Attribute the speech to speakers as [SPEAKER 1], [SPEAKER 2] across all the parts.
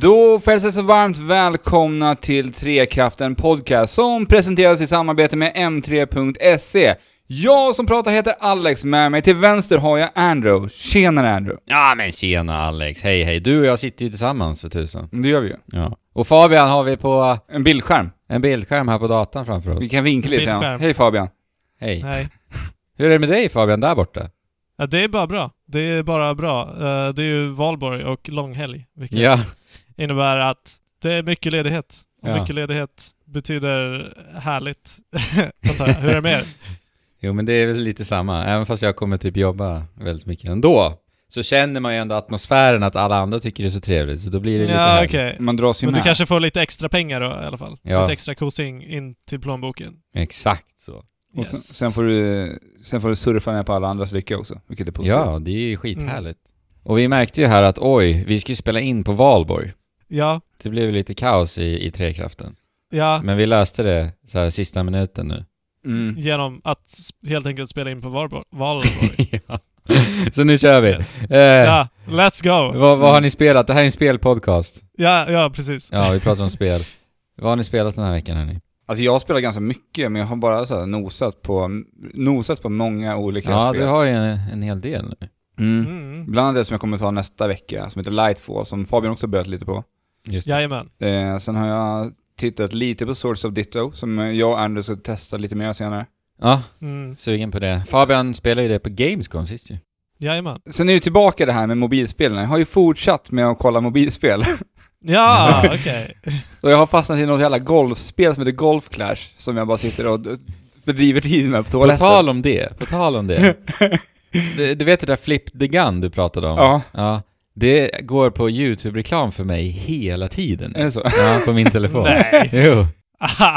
[SPEAKER 1] Då får jag hälsa så varmt välkomna till Trekraften Podcast som presenteras i samarbete med m3.se. E. Jag som pratar heter Alex, med mig till vänster har jag Andrew. Tjenare Andrew!
[SPEAKER 2] Ja men tjena Alex, hej hej. Du och jag sitter ju tillsammans för tusen.
[SPEAKER 1] Det gör vi ju.
[SPEAKER 2] Ja. Och Fabian har vi på
[SPEAKER 1] En bildskärm.
[SPEAKER 2] en bildskärm här på datorn framför oss.
[SPEAKER 1] Vi kan vinka lite grann.
[SPEAKER 3] Bildskärm.
[SPEAKER 1] Hej Fabian.
[SPEAKER 2] Hej.
[SPEAKER 3] Nej.
[SPEAKER 2] Hur är det med dig Fabian, där borta?
[SPEAKER 3] Ja, det är bara bra. Det är bara bra. Eh, det är ju valborg och långhelg, vilket
[SPEAKER 2] Ja.
[SPEAKER 3] innebär att det är mycket ledighet. Och
[SPEAKER 2] Ja.
[SPEAKER 3] mycket ledighet betyder härligt, antar jag. Hur är det med er?
[SPEAKER 2] Jo men det är väl lite samma, även fast jag kommer typ jobba väldigt mycket ändå. Så känner man ju ändå atmosfären att alla andra tycker det är så trevligt, så då blir det lite
[SPEAKER 3] Ja,
[SPEAKER 2] härligt.
[SPEAKER 3] okej.
[SPEAKER 1] Man dras ju
[SPEAKER 3] Men du
[SPEAKER 1] med.
[SPEAKER 3] kanske får lite extra pengar då i alla fall?
[SPEAKER 2] Ja.
[SPEAKER 3] Lite extra kosing in till plånboken?
[SPEAKER 2] Exakt så.
[SPEAKER 1] Och sen,
[SPEAKER 3] Yes.
[SPEAKER 1] sen, får du, sen får du surfa med på alla andras lycka också, vilket är positivt.
[SPEAKER 2] Ja, det är ju skithärligt. Och vi märkte ju här att oj, vi ska ju spela in på valborg.
[SPEAKER 3] Ja,
[SPEAKER 2] Det blev ju lite kaos i, i Trekraften.
[SPEAKER 3] ja.
[SPEAKER 2] Men vi löste det så här sista minuten nu.
[SPEAKER 1] Mm.
[SPEAKER 3] Genom att s- helt enkelt spela in på valborg. valborg.
[SPEAKER 2] ja. Så nu kör vi.
[SPEAKER 3] Yes.
[SPEAKER 2] Eh,
[SPEAKER 3] Ja, let's go!
[SPEAKER 2] vad, vad har ni spelat? Det här är en spelpodcast.
[SPEAKER 3] Ja, ja precis.
[SPEAKER 2] Ja, vi pratar om spel. Vad har ni spelat den här veckan hörni?
[SPEAKER 1] Alltså jag spelar ganska mycket, men jag har bara så här nosat, på, nosat på många olika
[SPEAKER 2] Ja,
[SPEAKER 1] spel.
[SPEAKER 2] du har ju en, en hel del nu.
[SPEAKER 1] Mm.
[SPEAKER 3] Mm.
[SPEAKER 1] Bland annat det som jag kommer ta nästa vecka, som heter Lightfall, som Fabian också börjat lite på.
[SPEAKER 2] Just det.
[SPEAKER 3] Jajamän.
[SPEAKER 1] Eh, sen har jag tittat lite på Swords of Ditto, som eh, jag och Anders ska testa lite mer senare.
[SPEAKER 2] Ja,
[SPEAKER 3] Mm.
[SPEAKER 2] sugen på det. Fabian spelade ju det på Gamescom sist ju.
[SPEAKER 3] Jajamän.
[SPEAKER 1] Sen är det tillbaka det här med mobilspelen. Jag har ju fortsatt med att kolla mobilspel.
[SPEAKER 3] Ja, okej.
[SPEAKER 1] och jag har fastnat i något jävla golfspel som heter Golf Clash, som jag bara sitter och eh, fördriver tiden med på
[SPEAKER 2] På
[SPEAKER 1] toaletten.
[SPEAKER 2] tal om det, på tal om det. du, du vet det där Flip the Gun du pratade om?
[SPEAKER 1] Ja,
[SPEAKER 2] Ja. Det går på YouTube-reklam för mig hela tiden.
[SPEAKER 1] är det så?
[SPEAKER 2] Ja, på min telefon.
[SPEAKER 3] Nej.
[SPEAKER 2] Jo.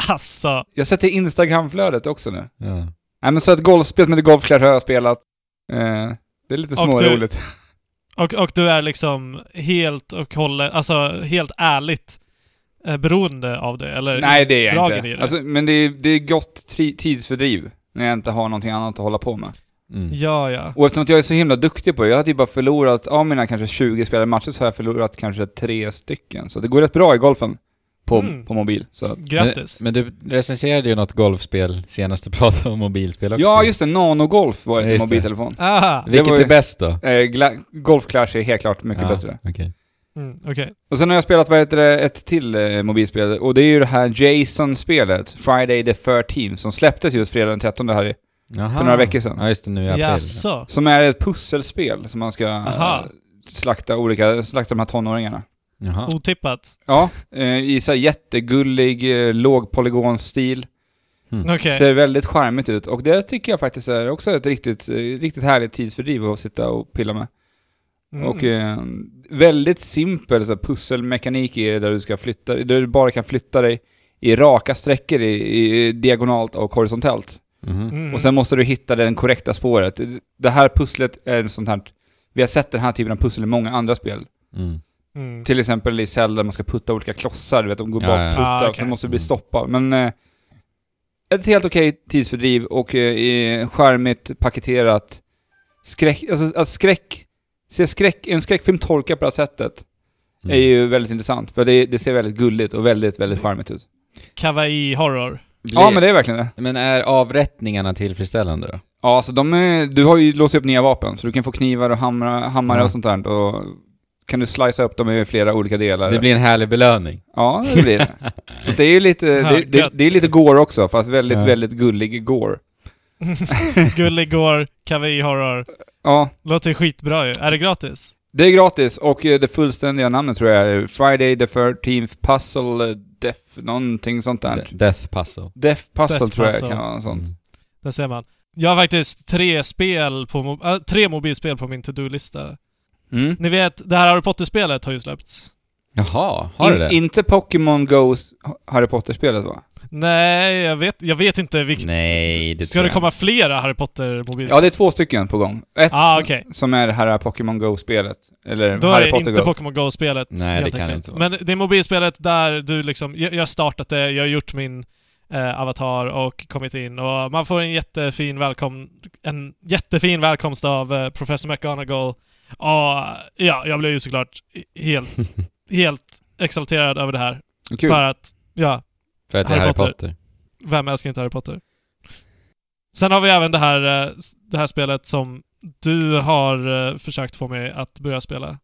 [SPEAKER 3] Alltså.
[SPEAKER 1] Jag sätter Instagramflödet också nu.
[SPEAKER 2] Ja.
[SPEAKER 1] Nej men så ett golfspel som heter Golf Clash har jag spelat. Eh, det är lite
[SPEAKER 3] Och du-
[SPEAKER 1] småroligt.
[SPEAKER 3] Och, och du är liksom helt och hållet, alltså helt ärligt eh, beroende av det, eller?
[SPEAKER 1] Nej det är jag
[SPEAKER 3] dragen
[SPEAKER 1] inte.
[SPEAKER 3] i det.
[SPEAKER 1] Alltså, men det är, det är gott tri- tidsfördriv när jag inte har någonting annat att hålla på med.
[SPEAKER 2] Mm.
[SPEAKER 3] Ja, ja.
[SPEAKER 1] Och eftersom att jag är så himla duktig på det, jag har typ bara förlorat, av mina kanske 20 spelade matcher så har jag förlorat kanske tre stycken. Så det går rätt bra i golfen på,
[SPEAKER 3] Mm.
[SPEAKER 1] på mobil. Så. att-
[SPEAKER 3] Grattis.
[SPEAKER 2] Men, men du recenserade ju något golfspel senast du pratade om mobilspel också.
[SPEAKER 1] Ja just det, nanogolf var det till
[SPEAKER 2] Just det.
[SPEAKER 1] mobiltelefon.
[SPEAKER 3] Aha!
[SPEAKER 2] Vilket
[SPEAKER 1] det var ju-
[SPEAKER 2] är bäst då?
[SPEAKER 1] Eh, gla- golf Clash är helt klart mycket
[SPEAKER 2] Ja,
[SPEAKER 1] bättre.
[SPEAKER 2] okej.
[SPEAKER 3] Mm, Okej.
[SPEAKER 1] Och sen har jag spelat, vad heter det, ett till eh, mobilspel. Och det är ju det här Jason-spelet, Friday the 13, som släpptes just fredag den 13 här i,
[SPEAKER 2] Jaha.
[SPEAKER 1] för några veckor sedan.
[SPEAKER 2] Ja, just det, nu i april.
[SPEAKER 3] Jaså?
[SPEAKER 1] Som är ett pusselspel som man ska eh,
[SPEAKER 3] Aha.
[SPEAKER 1] slakta olika, slakta de här tonåringarna.
[SPEAKER 2] Jaha.
[SPEAKER 3] Otippat.
[SPEAKER 1] Ja, eh, i så här jättegullig, eh, lågpolygonstil.
[SPEAKER 2] Mm.
[SPEAKER 3] Okej.
[SPEAKER 1] Ser väldigt charmigt ut och det tycker jag faktiskt är också ett riktigt, eh, riktigt härligt tidsfördriv att sitta och pilla med.
[SPEAKER 3] Mm.
[SPEAKER 1] Och eh, väldigt simpel så här, pusselmekanik i det där du ska flytta, där du bara kan flytta dig i raka sträckor i, i diagonalt och horisontellt.
[SPEAKER 2] Mhm.
[SPEAKER 3] Mm.
[SPEAKER 1] Och sen måste du hitta det korrekta spåret. Det här pusslet är en sånt här, vi har sett den här typen av pussel i många andra spel.
[SPEAKER 2] Mm.
[SPEAKER 3] Mm.
[SPEAKER 1] Till exempel i Zelda, man ska putta olika klossar, du vet, de går
[SPEAKER 2] Ja,
[SPEAKER 1] bak
[SPEAKER 2] ja, ja.
[SPEAKER 1] och puttar,
[SPEAKER 3] Ah,
[SPEAKER 1] och sen
[SPEAKER 3] okej.
[SPEAKER 1] måste du bli
[SPEAKER 2] Mm.
[SPEAKER 1] stoppad. Men eh, ett helt okej tidsfördriv och eh, i- charmigt paketerat. Skräck, alltså att skräck, se skräck, en skräckfilm tolkad på det här sättet
[SPEAKER 2] Mm.
[SPEAKER 1] är ju väldigt intressant, för det, det ser väldigt gulligt och väldigt, väldigt charmigt ut.
[SPEAKER 3] Kawaii horror.
[SPEAKER 1] Ja, men det är verkligen det.
[SPEAKER 2] Men är avrättningarna tillfredsställande då?
[SPEAKER 1] Ja, alltså de är, du har ju låst upp nya vapen, så du kan få knivar och hammare, hammare
[SPEAKER 2] Ja.
[SPEAKER 1] och sånt där. Och kan du slicea upp dem i flera olika delar.
[SPEAKER 2] Det blir en härlig belöning.
[SPEAKER 1] Ja, det blir det. Så det är ju lite, det, det,
[SPEAKER 3] gött.
[SPEAKER 1] det är lite gore också, fast väldigt,
[SPEAKER 2] Ja.
[SPEAKER 1] väldigt gullig gore.
[SPEAKER 3] Gullig går, kawaii horror.
[SPEAKER 1] Ja,
[SPEAKER 3] Låter skitbra ju. Är det gratis?
[SPEAKER 1] det är gratis och eh, det fullständiga namnet tror jag är Friday the 13th Puzzle eh, Death, någonting sånt där.
[SPEAKER 2] De- Death puzzle.
[SPEAKER 1] Death Puzzle
[SPEAKER 3] Death
[SPEAKER 1] tror jag
[SPEAKER 3] Puzzle.
[SPEAKER 1] kan vara något sånt.
[SPEAKER 2] Mm.
[SPEAKER 3] Där ser man. Jag har faktiskt tre spel på, mo- äh, tre mobilspel på min to-do-lista.
[SPEAKER 1] Mm.
[SPEAKER 3] Ni vet, det här Harry Potter-spelet har ju släppts.
[SPEAKER 2] Jaha, har du
[SPEAKER 1] In,
[SPEAKER 2] det?
[SPEAKER 1] inte Pokémon Goes Harry Potter-spelet va?
[SPEAKER 3] Nej, jag vet, jag vet inte vilket.
[SPEAKER 2] Nej, det
[SPEAKER 3] Ska
[SPEAKER 2] tror
[SPEAKER 3] det
[SPEAKER 2] jag
[SPEAKER 3] komma flera Harry Potter-mobilspel?
[SPEAKER 1] Ja, det är två stycken på gång. Ett
[SPEAKER 3] Ah, okej.
[SPEAKER 1] som är det här Pokémon Go-spelet. Eller
[SPEAKER 3] Då är
[SPEAKER 1] Harry
[SPEAKER 3] det
[SPEAKER 1] Potter
[SPEAKER 3] inte
[SPEAKER 1] Go.
[SPEAKER 3] Pokémon Go-spelet.
[SPEAKER 2] Nej, det
[SPEAKER 3] helt
[SPEAKER 2] kan det
[SPEAKER 3] enkelt.
[SPEAKER 2] inte vara.
[SPEAKER 3] Men det är mobilspelet där du liksom, jag jag har startat det, jag har gjort min eh, avatar och kommit in och man får en jättefin, välkom, en jättefin välkomst av eh, Professor McGonagall. Och ja, jag blev ju såklart helt, helt exalterad över det här.
[SPEAKER 1] Kul.
[SPEAKER 3] För att, ja,
[SPEAKER 2] För att det är
[SPEAKER 3] Harry
[SPEAKER 2] Harry
[SPEAKER 3] Potter.
[SPEAKER 2] Potter.
[SPEAKER 3] vem älskar inte Harry Potter? Sen har vi även det här, eh, s- det här spelet som du har eh, försökt få mig att börja spela.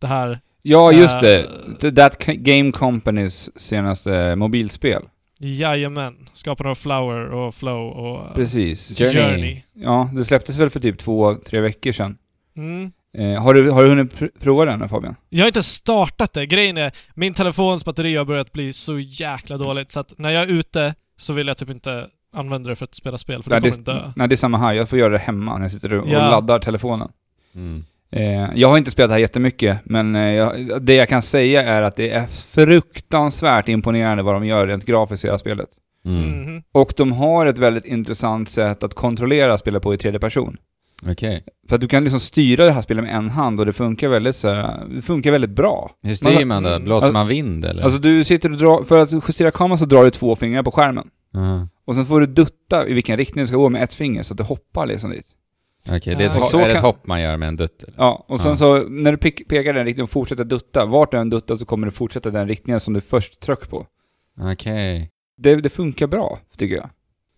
[SPEAKER 3] Det här...
[SPEAKER 1] Ja, just det.
[SPEAKER 3] eh,
[SPEAKER 1] The- That Ca- Game Companys senaste mobilspel.
[SPEAKER 3] Jajamän. Skaparen av Flower och Flow och eh,
[SPEAKER 1] Precis.
[SPEAKER 2] Journey.
[SPEAKER 3] Journey.
[SPEAKER 1] Ja, det släpptes väl för typ två, tre veckor sedan.
[SPEAKER 3] Mm.
[SPEAKER 1] Eh, har, du, har du hunnit pr- prova den Fabian?
[SPEAKER 3] Jag har inte startat det. Grejen är, min telefons batteri har börjat bli så jäkla dåligt så att när jag är ute så vill jag typ inte använda det för att spela spel, för då
[SPEAKER 1] Nej,
[SPEAKER 3] kommer
[SPEAKER 1] det,
[SPEAKER 3] den dö.
[SPEAKER 1] nej, det är samma här. Jag får göra det hemma när jag sitter och
[SPEAKER 3] Ja.
[SPEAKER 1] laddar telefonen.
[SPEAKER 2] Mm.
[SPEAKER 1] Eh, jag har inte spelat det här jättemycket, men eh, jag, det jag kan säga är att det är fruktansvärt imponerande vad de gör rent grafiskt i det här spelet.
[SPEAKER 2] Mm.
[SPEAKER 3] Mhm.
[SPEAKER 1] Och de har ett väldigt intressant sätt att kontrollera spelet på i tredje person.
[SPEAKER 2] Okej.
[SPEAKER 1] För att du kan liksom styra det här spelet med en hand och det funkar väldigt, så här, det funkar väldigt bra.
[SPEAKER 2] Hur styr man då?
[SPEAKER 3] Mm.
[SPEAKER 2] Blåser
[SPEAKER 1] Alltså-
[SPEAKER 2] man vind eller?
[SPEAKER 1] Alltså du sitter och drar, för att justera kameran så drar du två fingrar på skärmen.
[SPEAKER 2] Aha.
[SPEAKER 1] Och sen får du dutta i vilken riktning du ska gå med ett finger så att du hoppar liksom dit.
[SPEAKER 2] Okej, det är, ett
[SPEAKER 3] Ja.
[SPEAKER 2] hopp,
[SPEAKER 1] Så
[SPEAKER 2] är det ett
[SPEAKER 1] kan-
[SPEAKER 2] hopp man gör med en dutt eller?
[SPEAKER 1] Ja, och sen
[SPEAKER 2] Ja.
[SPEAKER 1] så när du pek- pekar i den riktningen och fortsätter dutta, vart du än duttar så kommer du fortsätta den riktningen som du först tryck på.
[SPEAKER 2] Okej.
[SPEAKER 1] Det, det funkar bra, tycker jag.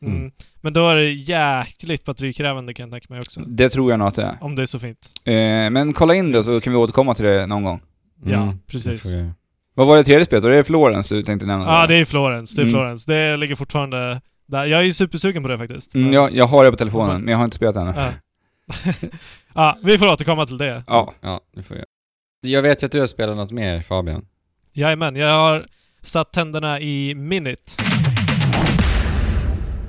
[SPEAKER 3] Mm.
[SPEAKER 2] Mm.
[SPEAKER 3] Men då är det jäkligt batterikrävande kan jag tänka mig också.
[SPEAKER 1] Det tror jag nog att det är.
[SPEAKER 3] Om det är så fint.
[SPEAKER 1] Eh, men kolla in det så
[SPEAKER 3] Yes.
[SPEAKER 1] kan vi återkomma till det någon gång.
[SPEAKER 3] Ja,
[SPEAKER 2] Mm.
[SPEAKER 3] precis.
[SPEAKER 2] Det får jag-
[SPEAKER 1] Vad var det tredje spelet? Var det Florence du tänkte nämna?
[SPEAKER 3] Ja, det är Florens. Det är
[SPEAKER 1] Mm.
[SPEAKER 3] Florens. Det ligger fortfarande där. Jag är ju supersugen på det faktiskt.
[SPEAKER 1] Mm,
[SPEAKER 3] Men-
[SPEAKER 1] jag, jag har det på telefonen, men jag har inte spelat det ännu.
[SPEAKER 3] Ja. ja, vi får återkomma till det.
[SPEAKER 1] Ja.
[SPEAKER 2] Ja, det får jag. Jag vet ju att du har spelat något mer Fabian.
[SPEAKER 3] Jajamän, jag har satt tänderna i Minute.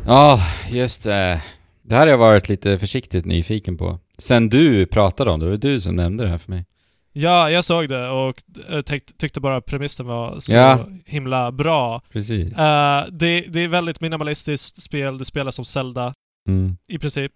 [SPEAKER 2] Ja, just det. Det här har jag varit lite försiktigt nyfiken på. Sen du pratade om det, det var du som nämnde det här för mig.
[SPEAKER 3] Ja, jag såg det och eh, tänkte- tyckte bara premissen var så
[SPEAKER 2] Ja.
[SPEAKER 3] himla bra.
[SPEAKER 2] Precis.
[SPEAKER 3] Eh, det, det är väldigt minimalistiskt spel, det spelas som Zelda
[SPEAKER 2] Mm.
[SPEAKER 3] i princip.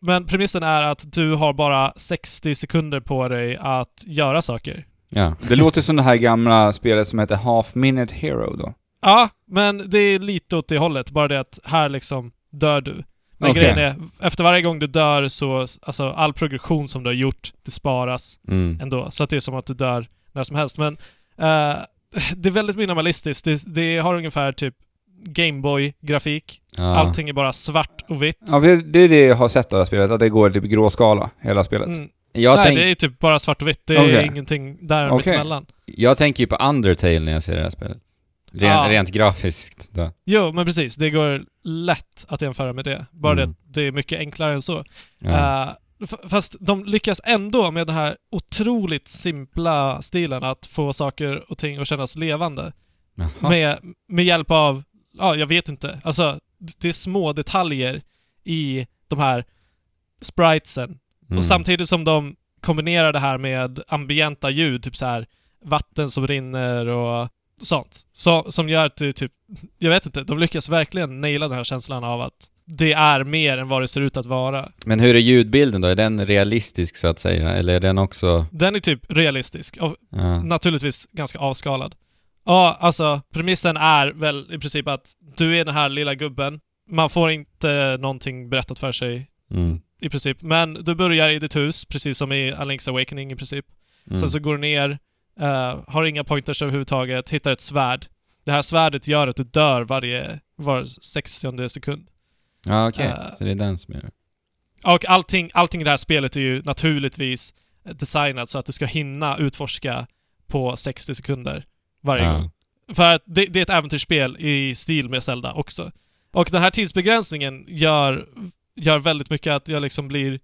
[SPEAKER 3] Men premissen är att du har bara 60 sekunder på dig att göra saker.
[SPEAKER 2] Ja.
[SPEAKER 1] Det låter som det här gamla spelet som heter Half Minute Hero då.
[SPEAKER 3] Ja, men det är lite åt det hållet. Bara det att här liksom dör du. Men
[SPEAKER 1] Okej.
[SPEAKER 3] grejen är, efter varje gång du dör så, alltså all progression som du har gjort, det sparas
[SPEAKER 2] Mm.
[SPEAKER 3] ändå. Så att det är som att du dör när som helst. Men eh, det är väldigt minimalistiskt. Det, det har ungefär typ Gameboy-grafik.
[SPEAKER 2] Ja.
[SPEAKER 3] Allting är bara svart och vitt.
[SPEAKER 1] Ja, för det är det jag har sett av det här spelet, att det går typ i grå skala, hela spelet.
[SPEAKER 3] Mm.
[SPEAKER 2] Jag,
[SPEAKER 3] Nej,
[SPEAKER 2] tänk,
[SPEAKER 3] det är typ bara svart och vitt. Det är
[SPEAKER 1] Okej.
[SPEAKER 3] ingenting där
[SPEAKER 1] Okej.
[SPEAKER 3] mittemellan.
[SPEAKER 2] jag tänker ju på Undertale när jag ser det här spelet. Ren,
[SPEAKER 3] Ja.
[SPEAKER 2] Rent grafiskt då.
[SPEAKER 3] Jo, men precis. Det går lätt att jämföra med det. Bara
[SPEAKER 2] Mm.
[SPEAKER 3] det att det är mycket enklare än så.
[SPEAKER 2] Ja.
[SPEAKER 3] Eh, f- fast de lyckas ändå med den här otroligt simpla stilen att få saker och ting att kännas levande.
[SPEAKER 2] Jaha.
[SPEAKER 3] Med, med hjälp av, ja jag vet inte, alltså d- det är små detaljer i de här spritesen.
[SPEAKER 2] Mm.
[SPEAKER 3] Och samtidigt som de kombinerar det här med ambienta ljud, typ så här vatten som rinner och sånt. Så, som gör att det typ, jag vet inte, de lyckas verkligen naila den här känslan av att det är mer än vad det ser ut att vara.
[SPEAKER 2] Men hur är ljudbilden då? Är den realistisk så att säga? Eller är den också...
[SPEAKER 3] Den är typ realistisk och
[SPEAKER 2] Ja.
[SPEAKER 3] naturligtvis ganska avskalad. Ja, alltså premissen är väl i princip att du är den här lilla gubben. Man får inte någonting berättat för sig
[SPEAKER 2] Mm.
[SPEAKER 3] i princip, men du börjar i ditt hus, precis som i A Link's Awakening i princip.
[SPEAKER 2] Mm.
[SPEAKER 3] Sen så går du ner, eh, har inga pointers överhuvudtaget, hittar ett svärd. Det här svärdet gör att du dör varje var 60 sekund.
[SPEAKER 2] Ja, okej.
[SPEAKER 3] Eh.
[SPEAKER 2] Så det är den som är det.
[SPEAKER 3] Och allting, allting i det här spelet är ju naturligtvis designat så att du ska hinna utforska på 60 sekunder varje
[SPEAKER 2] Ja.
[SPEAKER 3] gång. För att det, det är ett äventyrsspel i stil med Zelda också. Och den här tidsbegränsningen gör, gör väldigt mycket att jag liksom blir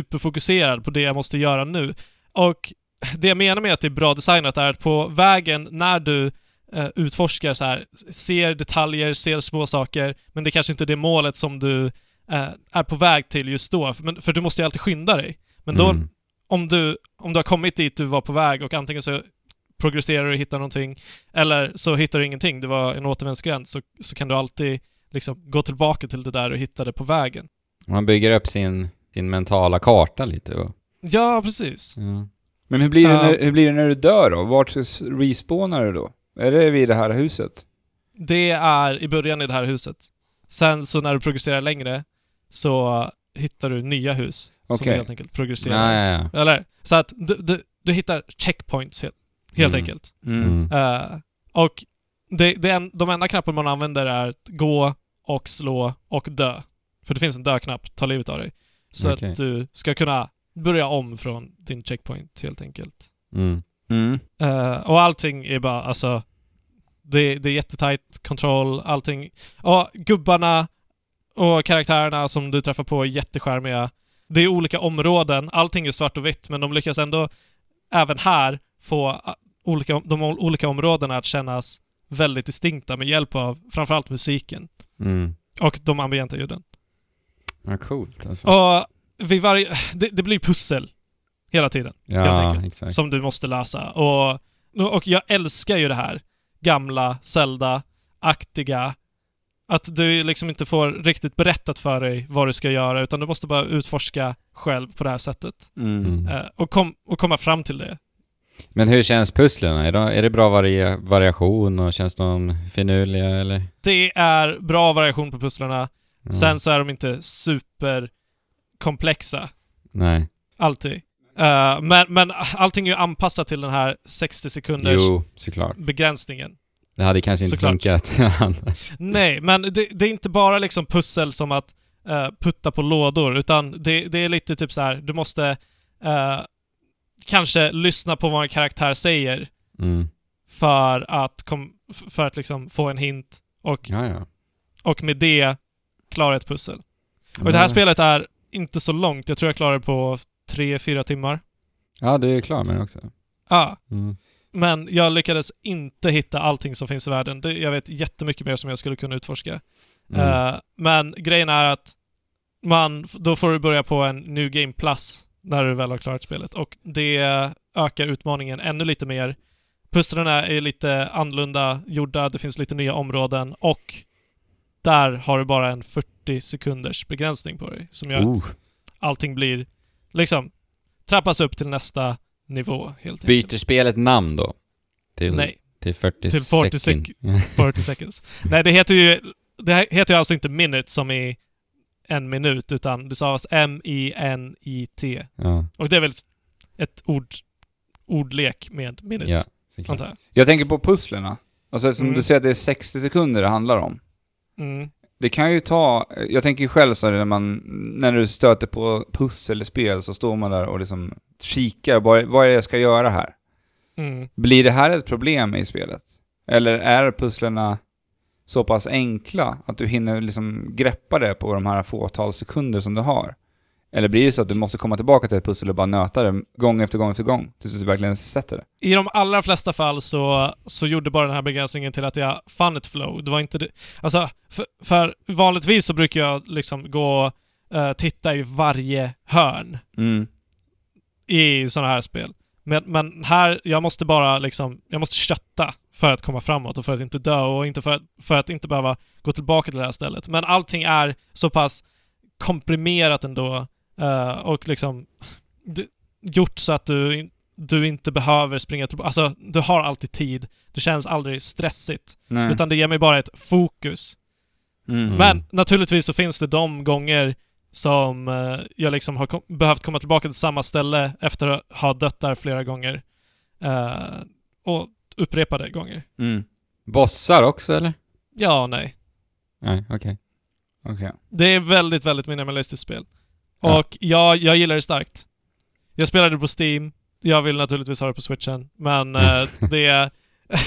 [SPEAKER 3] superfokuserad på det jag måste göra nu. Och det jag menar med att det är bra designat är att på vägen när du eh, utforskar så här, ser detaljer, ser små saker, men det är kanske inte är det målet som du eh, är på väg till just då. För, men, för du måste ju alltid skynda dig. Men då,
[SPEAKER 2] Mm.
[SPEAKER 3] om, du, om du har kommit dit du var på väg och antingen så progresserar du och hittar någonting, eller så hittar du ingenting, det var en återvändsgränd, så, så kan du alltid liksom gå tillbaka till det där du hittade på vägen.
[SPEAKER 2] Man bygger upp sin, sin mentala karta lite och...
[SPEAKER 3] Ja, precis.
[SPEAKER 2] Ja.
[SPEAKER 1] Men hur blir, det
[SPEAKER 3] Ja.
[SPEAKER 1] när, hur blir det när du dör då? Vart s- respawnar du då? Är det vid det här huset?
[SPEAKER 3] Det är i början i det här huset. Sen så när du progresserar längre så hittar du nya hus som
[SPEAKER 1] Okej.
[SPEAKER 3] helt enkelt progresserar.
[SPEAKER 2] Ja, ja, ja.
[SPEAKER 3] Eller? Så att du, du, du hittar checkpoints helt, helt
[SPEAKER 2] Mm.
[SPEAKER 3] enkelt.
[SPEAKER 1] Mm.
[SPEAKER 3] Eh, och det, det en, de enda knappen man använder är att gå och slå och dö. För det finns en dö-knapp, ta livet av dig. Så
[SPEAKER 2] Okej.
[SPEAKER 3] att du ska kunna börja om från din checkpoint helt enkelt.
[SPEAKER 2] Mm.
[SPEAKER 1] Mm.
[SPEAKER 3] Eh, och allting är bara, alltså... Det, det är jättetajt kontroll, allting. Och gubbarna och karaktärerna som du träffar på är jätteskärmiga. Det är olika områden, allting är svart och vitt, men de lyckas ändå även här få ah, olika, de ol- olika områdena att kännas väldigt distinkta med hjälp av framförallt musiken
[SPEAKER 2] Mm.
[SPEAKER 3] och de ambienta ljuden.
[SPEAKER 2] Ja, coolt alltså.
[SPEAKER 3] Och vid varje... Det, det blir pussel hela tiden. helt
[SPEAKER 2] ja,
[SPEAKER 3] enkelt.
[SPEAKER 2] exakt.
[SPEAKER 3] som du måste lösa. Och, och jag älskar ju det här gamla Zelda-aktiga. Att du liksom inte får riktigt berättat för dig vad du ska göra utan du måste bara utforska själv på det här sättet.
[SPEAKER 1] Mm.
[SPEAKER 2] Mm.
[SPEAKER 3] Eh, och, kom, och komma fram till det.
[SPEAKER 2] Men hur känns pusslen? Är det, är det bra varia- variation och känns de finurliga eller?
[SPEAKER 3] Det är bra variation på pusslarna.
[SPEAKER 2] Ja.
[SPEAKER 3] Sen så är de inte superkomplexa
[SPEAKER 2] Nej.
[SPEAKER 3] alltid. Eh, men, men allting är ju anpassat till den här 60 sekunders
[SPEAKER 2] Jo, såklart.
[SPEAKER 3] begränsningen.
[SPEAKER 2] Det hade kanske inte
[SPEAKER 3] Såklart.
[SPEAKER 2] funkat annars.
[SPEAKER 3] Nej, men det, det är inte bara liksom pussel som att eh, putta på lådor, utan det, det är lite typ så här, du måste eh, kanske lyssna på vad en karaktär säger
[SPEAKER 2] Mm.
[SPEAKER 3] för att, kom, f- för att liksom få en hint och,
[SPEAKER 2] Ja, ja.
[SPEAKER 3] och med det klara ett pussel. Och
[SPEAKER 2] Mm.
[SPEAKER 3] det här spelet är inte så långt, jag tror jag klarar det på tre fyra timmar.
[SPEAKER 2] Ja, du är klar med det också.
[SPEAKER 3] Ja,
[SPEAKER 2] Mm.
[SPEAKER 3] men jag lyckades inte hitta allting som finns i världen. Det, jag vet jättemycket mer som jag skulle kunna utforska.
[SPEAKER 2] Mm.
[SPEAKER 3] Eh, men grejen är att man, då får du börja på en New Game Plus när du väl har klarat spelet. Och det ökar utmaningen ännu lite mer. Pusslen är lite annorlunda gjorda, det finns lite nya områden och där har du bara en 40 sekunders begränsning på dig som gör att
[SPEAKER 2] oh,
[SPEAKER 3] allting blir liksom trappas upp till nästa nivå helt enkelt.
[SPEAKER 2] byter spelet namn då? Till,
[SPEAKER 3] Nej,
[SPEAKER 2] till 40
[SPEAKER 3] Till 40
[SPEAKER 2] second.
[SPEAKER 3] 40 seconds. Nej, det heter ju det här heter ju alltså inte minute som i en minut, utan det stavas M-I-N-I-T.
[SPEAKER 2] ja,
[SPEAKER 3] Och det är väl ett- ett ord, ordlek med minute,
[SPEAKER 2] ja, såklart.
[SPEAKER 3] antar jag.
[SPEAKER 1] Jag tänker på pusslerna. Alltså eftersom
[SPEAKER 3] Mm.
[SPEAKER 1] du säger att det är 60 sekunder det handlar om.
[SPEAKER 3] Mm.
[SPEAKER 1] Det kan ju ta, jag tänker ju själv så här, när man, när du stöter på pusselspel så står man där och liksom kikar, vad, vad är det jag ska göra här?
[SPEAKER 3] Mm.
[SPEAKER 1] Blir det här ett problem i spelet? Eller är pusslerna så pass enkla att du hinner liksom greppa det på de här fåtal sekunder som du har? Eller blir det så att du måste komma tillbaka till ett pussel och bara nöta det gång efter gång efter gång tills du verkligen sätter det?
[SPEAKER 3] I de allra flesta fall så, så gjorde bara den här begränsningen till att jag fann ett flow. Det var inte det. Alltså, för, för vanligtvis så brukar jag liksom gå och eh, titta i varje hörn
[SPEAKER 1] Mm.
[SPEAKER 3] i sådana här spel. Men, men här, jag måste bara liksom, jag måste kötta för att komma framåt och för att inte dö och inte för, att, för att inte behöva gå tillbaka till det här stället. Men allting är så pass komprimerat ändå eh, och liksom d- gjort så att du, in- du inte behöver springa tillbaka. Alltså, du har alltid tid. Det känns aldrig stressigt.
[SPEAKER 1] Nej.
[SPEAKER 3] Utan det ger mig bara ett fokus.
[SPEAKER 1] Mm.
[SPEAKER 2] Mm.
[SPEAKER 3] Men naturligtvis så finns det de gånger som eh, jag liksom har kom- behövt komma tillbaka till samma ställe efter att ha dött där flera gånger. Eh, och upprepade gånger.
[SPEAKER 1] Mm.
[SPEAKER 2] Bossar också eller?
[SPEAKER 3] Ja och nej.
[SPEAKER 2] Nej, okej.
[SPEAKER 1] Okej.
[SPEAKER 3] Det är väldigt, väldigt minimalistiskt spel.
[SPEAKER 2] Ja.
[SPEAKER 3] Och jag, jag gillar det starkt. Jag spelade på Steam. Jag vill naturligtvis ha det på switchen, men
[SPEAKER 2] Mm.
[SPEAKER 3] eh, det, är-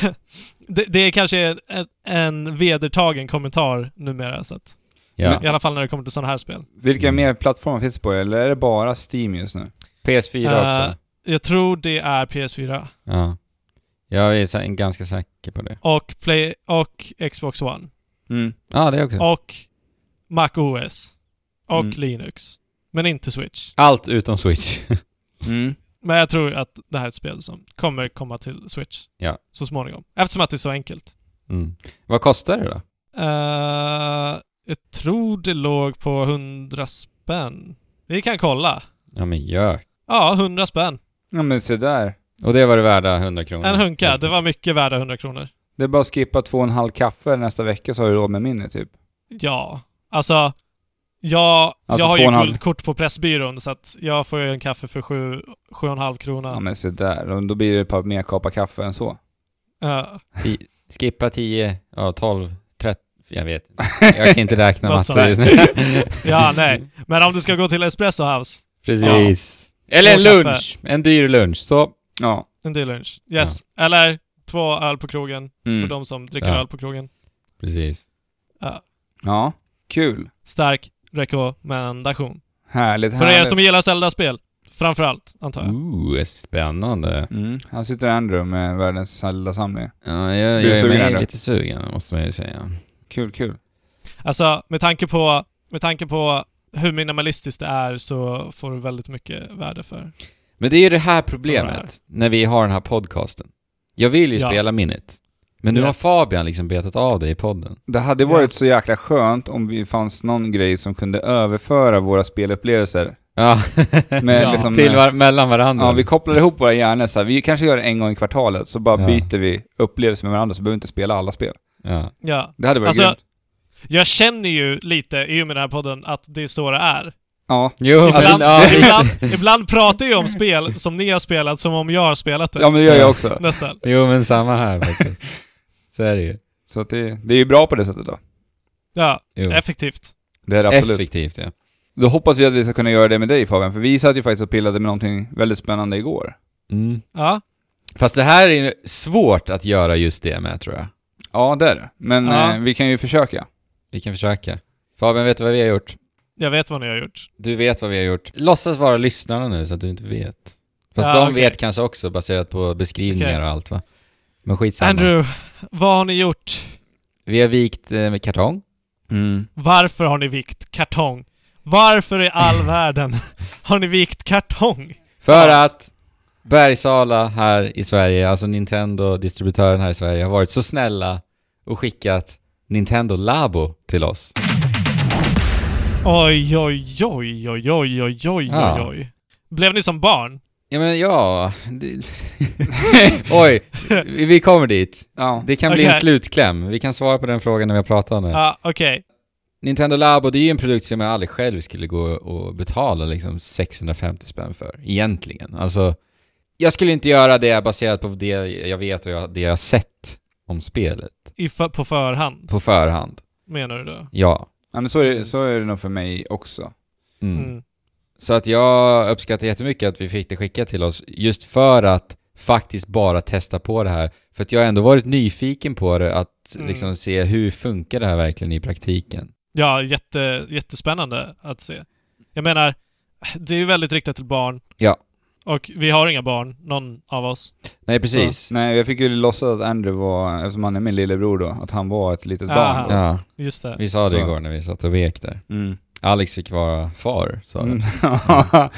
[SPEAKER 3] det, det är kanske är en, en vedertagen kommentar numera. Så att,
[SPEAKER 2] Ja.
[SPEAKER 3] I alla fall när det kommer till sådana här spel.
[SPEAKER 1] Vilka
[SPEAKER 2] Mm.
[SPEAKER 1] mer plattformar finns det på? Eller är det bara Steam just nu?
[SPEAKER 2] PS4
[SPEAKER 3] Eh,
[SPEAKER 2] också.
[SPEAKER 3] Jag tror det är PS4
[SPEAKER 2] Ja. Jag är sä- ganska säker på det.
[SPEAKER 3] och, Play och Xbox One
[SPEAKER 1] Mm.
[SPEAKER 2] Ja, ah, det också.
[SPEAKER 3] och Mac OS och
[SPEAKER 1] Mm.
[SPEAKER 3] Linux. Men inte Switch.
[SPEAKER 2] Allt utom Switch.
[SPEAKER 1] Mm.
[SPEAKER 3] Men jag tror att det här är ett spel som kommer komma till Switch
[SPEAKER 2] Ja.
[SPEAKER 3] så småningom. Eftersom att det är så enkelt.
[SPEAKER 2] Mm. Vad kostar det då?
[SPEAKER 3] Eh, jag tror det låg på 100 spänn. Vi kan kolla.
[SPEAKER 2] Ja men gör.
[SPEAKER 3] Ja, 100 spänn.
[SPEAKER 1] Ja men se där.
[SPEAKER 2] Och det var det värda 100 kronor.
[SPEAKER 3] En hunka. Det var mycket värda 100 kronor.
[SPEAKER 1] Det är bara att skippa två och en halv kaffe nästa vecka så har du råd med minne typ.
[SPEAKER 3] Ja, alltså Jag,
[SPEAKER 1] Alltså
[SPEAKER 3] jag har
[SPEAKER 1] två och en
[SPEAKER 3] ju
[SPEAKER 1] halv.
[SPEAKER 3] guldkort på Pressbyrån så att jag får ju en kaffe för sju, sju och en halv krona.
[SPEAKER 1] Ja men se där, då- då blir det ett par mer kappa kaffe än så.
[SPEAKER 3] Ja,
[SPEAKER 2] Ti- skippa 10, ja 12, 13, jag vet inte. Jag kan inte räkna
[SPEAKER 3] Något
[SPEAKER 2] matte
[SPEAKER 3] sånt.
[SPEAKER 2] just nu.
[SPEAKER 3] ja, nej. Men om du ska gå till Espresso House,
[SPEAKER 2] Precis. Eller en
[SPEAKER 3] Två kaffe.
[SPEAKER 2] lunch, en dyr lunch. Så,
[SPEAKER 1] Ja.
[SPEAKER 3] en dyr lunch. Yes. Eller två öl på krogen, för
[SPEAKER 1] Mm.
[SPEAKER 3] de som dricker
[SPEAKER 2] Ja.
[SPEAKER 3] öl på krogen.
[SPEAKER 2] precis.
[SPEAKER 1] Ja, kul.
[SPEAKER 3] Stark rekommendation.
[SPEAKER 1] Härligt,
[SPEAKER 3] För
[SPEAKER 1] härligt.
[SPEAKER 3] er som gillar Zelda-spel, framförallt, antar jag.
[SPEAKER 2] Ooh, spännande.
[SPEAKER 1] Mm. Här sitter Andrew med världens Zelda-samling.
[SPEAKER 2] Ja, jag,
[SPEAKER 1] Du är
[SPEAKER 2] jag är
[SPEAKER 1] sugen,
[SPEAKER 2] med
[SPEAKER 1] eller?
[SPEAKER 2] lite sugen, måste man ju säga.
[SPEAKER 1] Kul, kul.
[SPEAKER 3] Alltså, med tanke på, med tanke på hur minimalistiskt det är så får du väldigt mycket värde för.
[SPEAKER 2] Men det är ju det här
[SPEAKER 3] Så det här.
[SPEAKER 2] problemet, när vi har den här podcasten. Jag vill ju
[SPEAKER 3] Ja.
[SPEAKER 2] spela Minute. Men nu
[SPEAKER 3] Yes.
[SPEAKER 2] har Fabian liksom betat av det i podden.
[SPEAKER 1] Det hade varit så jäkla skönt om vi fanns någon grej som kunde överföra våra spelupplevelser.
[SPEAKER 2] Ja,
[SPEAKER 1] Med
[SPEAKER 3] Ja.
[SPEAKER 1] liksom,
[SPEAKER 2] till var- mellan varandra.
[SPEAKER 1] Ja, vi kopplar ihop våra hjärnor så här. Vi kanske gör det en gång i kvartalet, så bara
[SPEAKER 2] Ja.
[SPEAKER 1] byter vi upplevelser med varandra, så behöver vi inte spela alla spel.
[SPEAKER 2] ja.
[SPEAKER 3] Ja.
[SPEAKER 1] Det hade varit
[SPEAKER 3] Alltså-
[SPEAKER 1] grymt.
[SPEAKER 3] Jag känner ju lite, i och med den här podden, att det är så det är.
[SPEAKER 1] Oh, alltså, Ja.
[SPEAKER 2] Jo, men,
[SPEAKER 3] Ibland,
[SPEAKER 2] ja,
[SPEAKER 3] ibland, ibland pratar jag om spel som ni har spelat som om jag har spelat det.
[SPEAKER 1] ja, men det gör jag också.
[SPEAKER 3] Nästan.
[SPEAKER 2] jo, men samma här faktiskt. Så är det ju.
[SPEAKER 1] Så att det, det är ju bra på det sättet då.
[SPEAKER 3] Ja,
[SPEAKER 2] Jo.
[SPEAKER 3] effektivt.
[SPEAKER 1] Det är det absolut.
[SPEAKER 2] Effektivt, ja.
[SPEAKER 1] Då hoppas vi att vi ska kunna göra det med dig Fabian, för vi satt ju faktiskt och pillade med någonting väldigt spännande igår.
[SPEAKER 2] Mm.
[SPEAKER 3] Ja.
[SPEAKER 2] Fast det här är ju svårt att göra just det med, tror jag.
[SPEAKER 1] Ja, det är det. Men
[SPEAKER 3] Ja.
[SPEAKER 1] eh, vi kan ju försöka.
[SPEAKER 2] Vi kan försöka. Fabian, vet du vad vi har gjort?
[SPEAKER 3] Jag vet vad ni har gjort.
[SPEAKER 2] Du vet vad vi har gjort. Låtsas vara lyssnarna nu så att du inte vet. Fast
[SPEAKER 3] Ja,
[SPEAKER 2] de
[SPEAKER 3] okej.
[SPEAKER 2] vet kanske också baserat på beskrivningar
[SPEAKER 3] Okej.
[SPEAKER 2] och allt va? Men skitsamma.
[SPEAKER 3] Andrew, vad har ni gjort?
[SPEAKER 2] Vi har vikt eh, med kartong. Mm.
[SPEAKER 3] Varför har ni vikt kartong? Varför i all världen har ni vikt kartong?
[SPEAKER 2] För
[SPEAKER 3] Ja.
[SPEAKER 2] att Bergsala här i Sverige, alltså Nintendo-distributören här i Sverige, har varit så snälla och skickat Nintendo Labo till oss.
[SPEAKER 3] Oj, oj, oj, oj, oj, oj, oj, oj,
[SPEAKER 2] Ja.
[SPEAKER 3] oj. Blev ni som barn?
[SPEAKER 2] Ja men ja... Det... Oj, vi vi kommer dit.
[SPEAKER 1] Ja.
[SPEAKER 2] Det kan bli en
[SPEAKER 3] Okej.
[SPEAKER 2] slutkläm. Vi kan svara på den frågan när vi har pratat om det.
[SPEAKER 3] Ja, okej.
[SPEAKER 2] Nintendo Labo, det är ju en produkt som jag aldrig själv skulle gå och betala liksom 650 spänn för, egentligen. Alltså, jag skulle inte göra det baserat på det jag vet och jag- det jag har sett om spelet
[SPEAKER 3] I för- På förhand,
[SPEAKER 2] på förhand.
[SPEAKER 3] menar du då?
[SPEAKER 2] Ja.
[SPEAKER 1] ja men så är, det, så är det nog för mig också.
[SPEAKER 2] Mm.
[SPEAKER 3] Mm.
[SPEAKER 2] Så att jag uppskattar jättemycket att vi fick det skickat till oss, just för att faktiskt bara testa på det här. För att jag har ändå varit nyfiken på det, att
[SPEAKER 3] Mm.
[SPEAKER 2] liksom se hur funkar det här verkligen i praktiken.
[SPEAKER 3] Ja, jätte, jättespännande att se. Jag menar, det är ju väldigt riktat till barn.
[SPEAKER 2] Ja.
[SPEAKER 3] Och vi har inga barn, någon av oss.
[SPEAKER 2] Nej, precis.
[SPEAKER 1] Nej, jag fick ju låtsas att Andrew var, eftersom han är min lillebror då, att han var ett litet
[SPEAKER 3] Ah.
[SPEAKER 1] barn.
[SPEAKER 2] Ja,
[SPEAKER 3] Just det.
[SPEAKER 2] vi sa det
[SPEAKER 1] Så.
[SPEAKER 2] igår när vi satt och vek där.
[SPEAKER 1] Då. Mm.
[SPEAKER 2] Alex fick vara far, sa du.
[SPEAKER 1] Mm.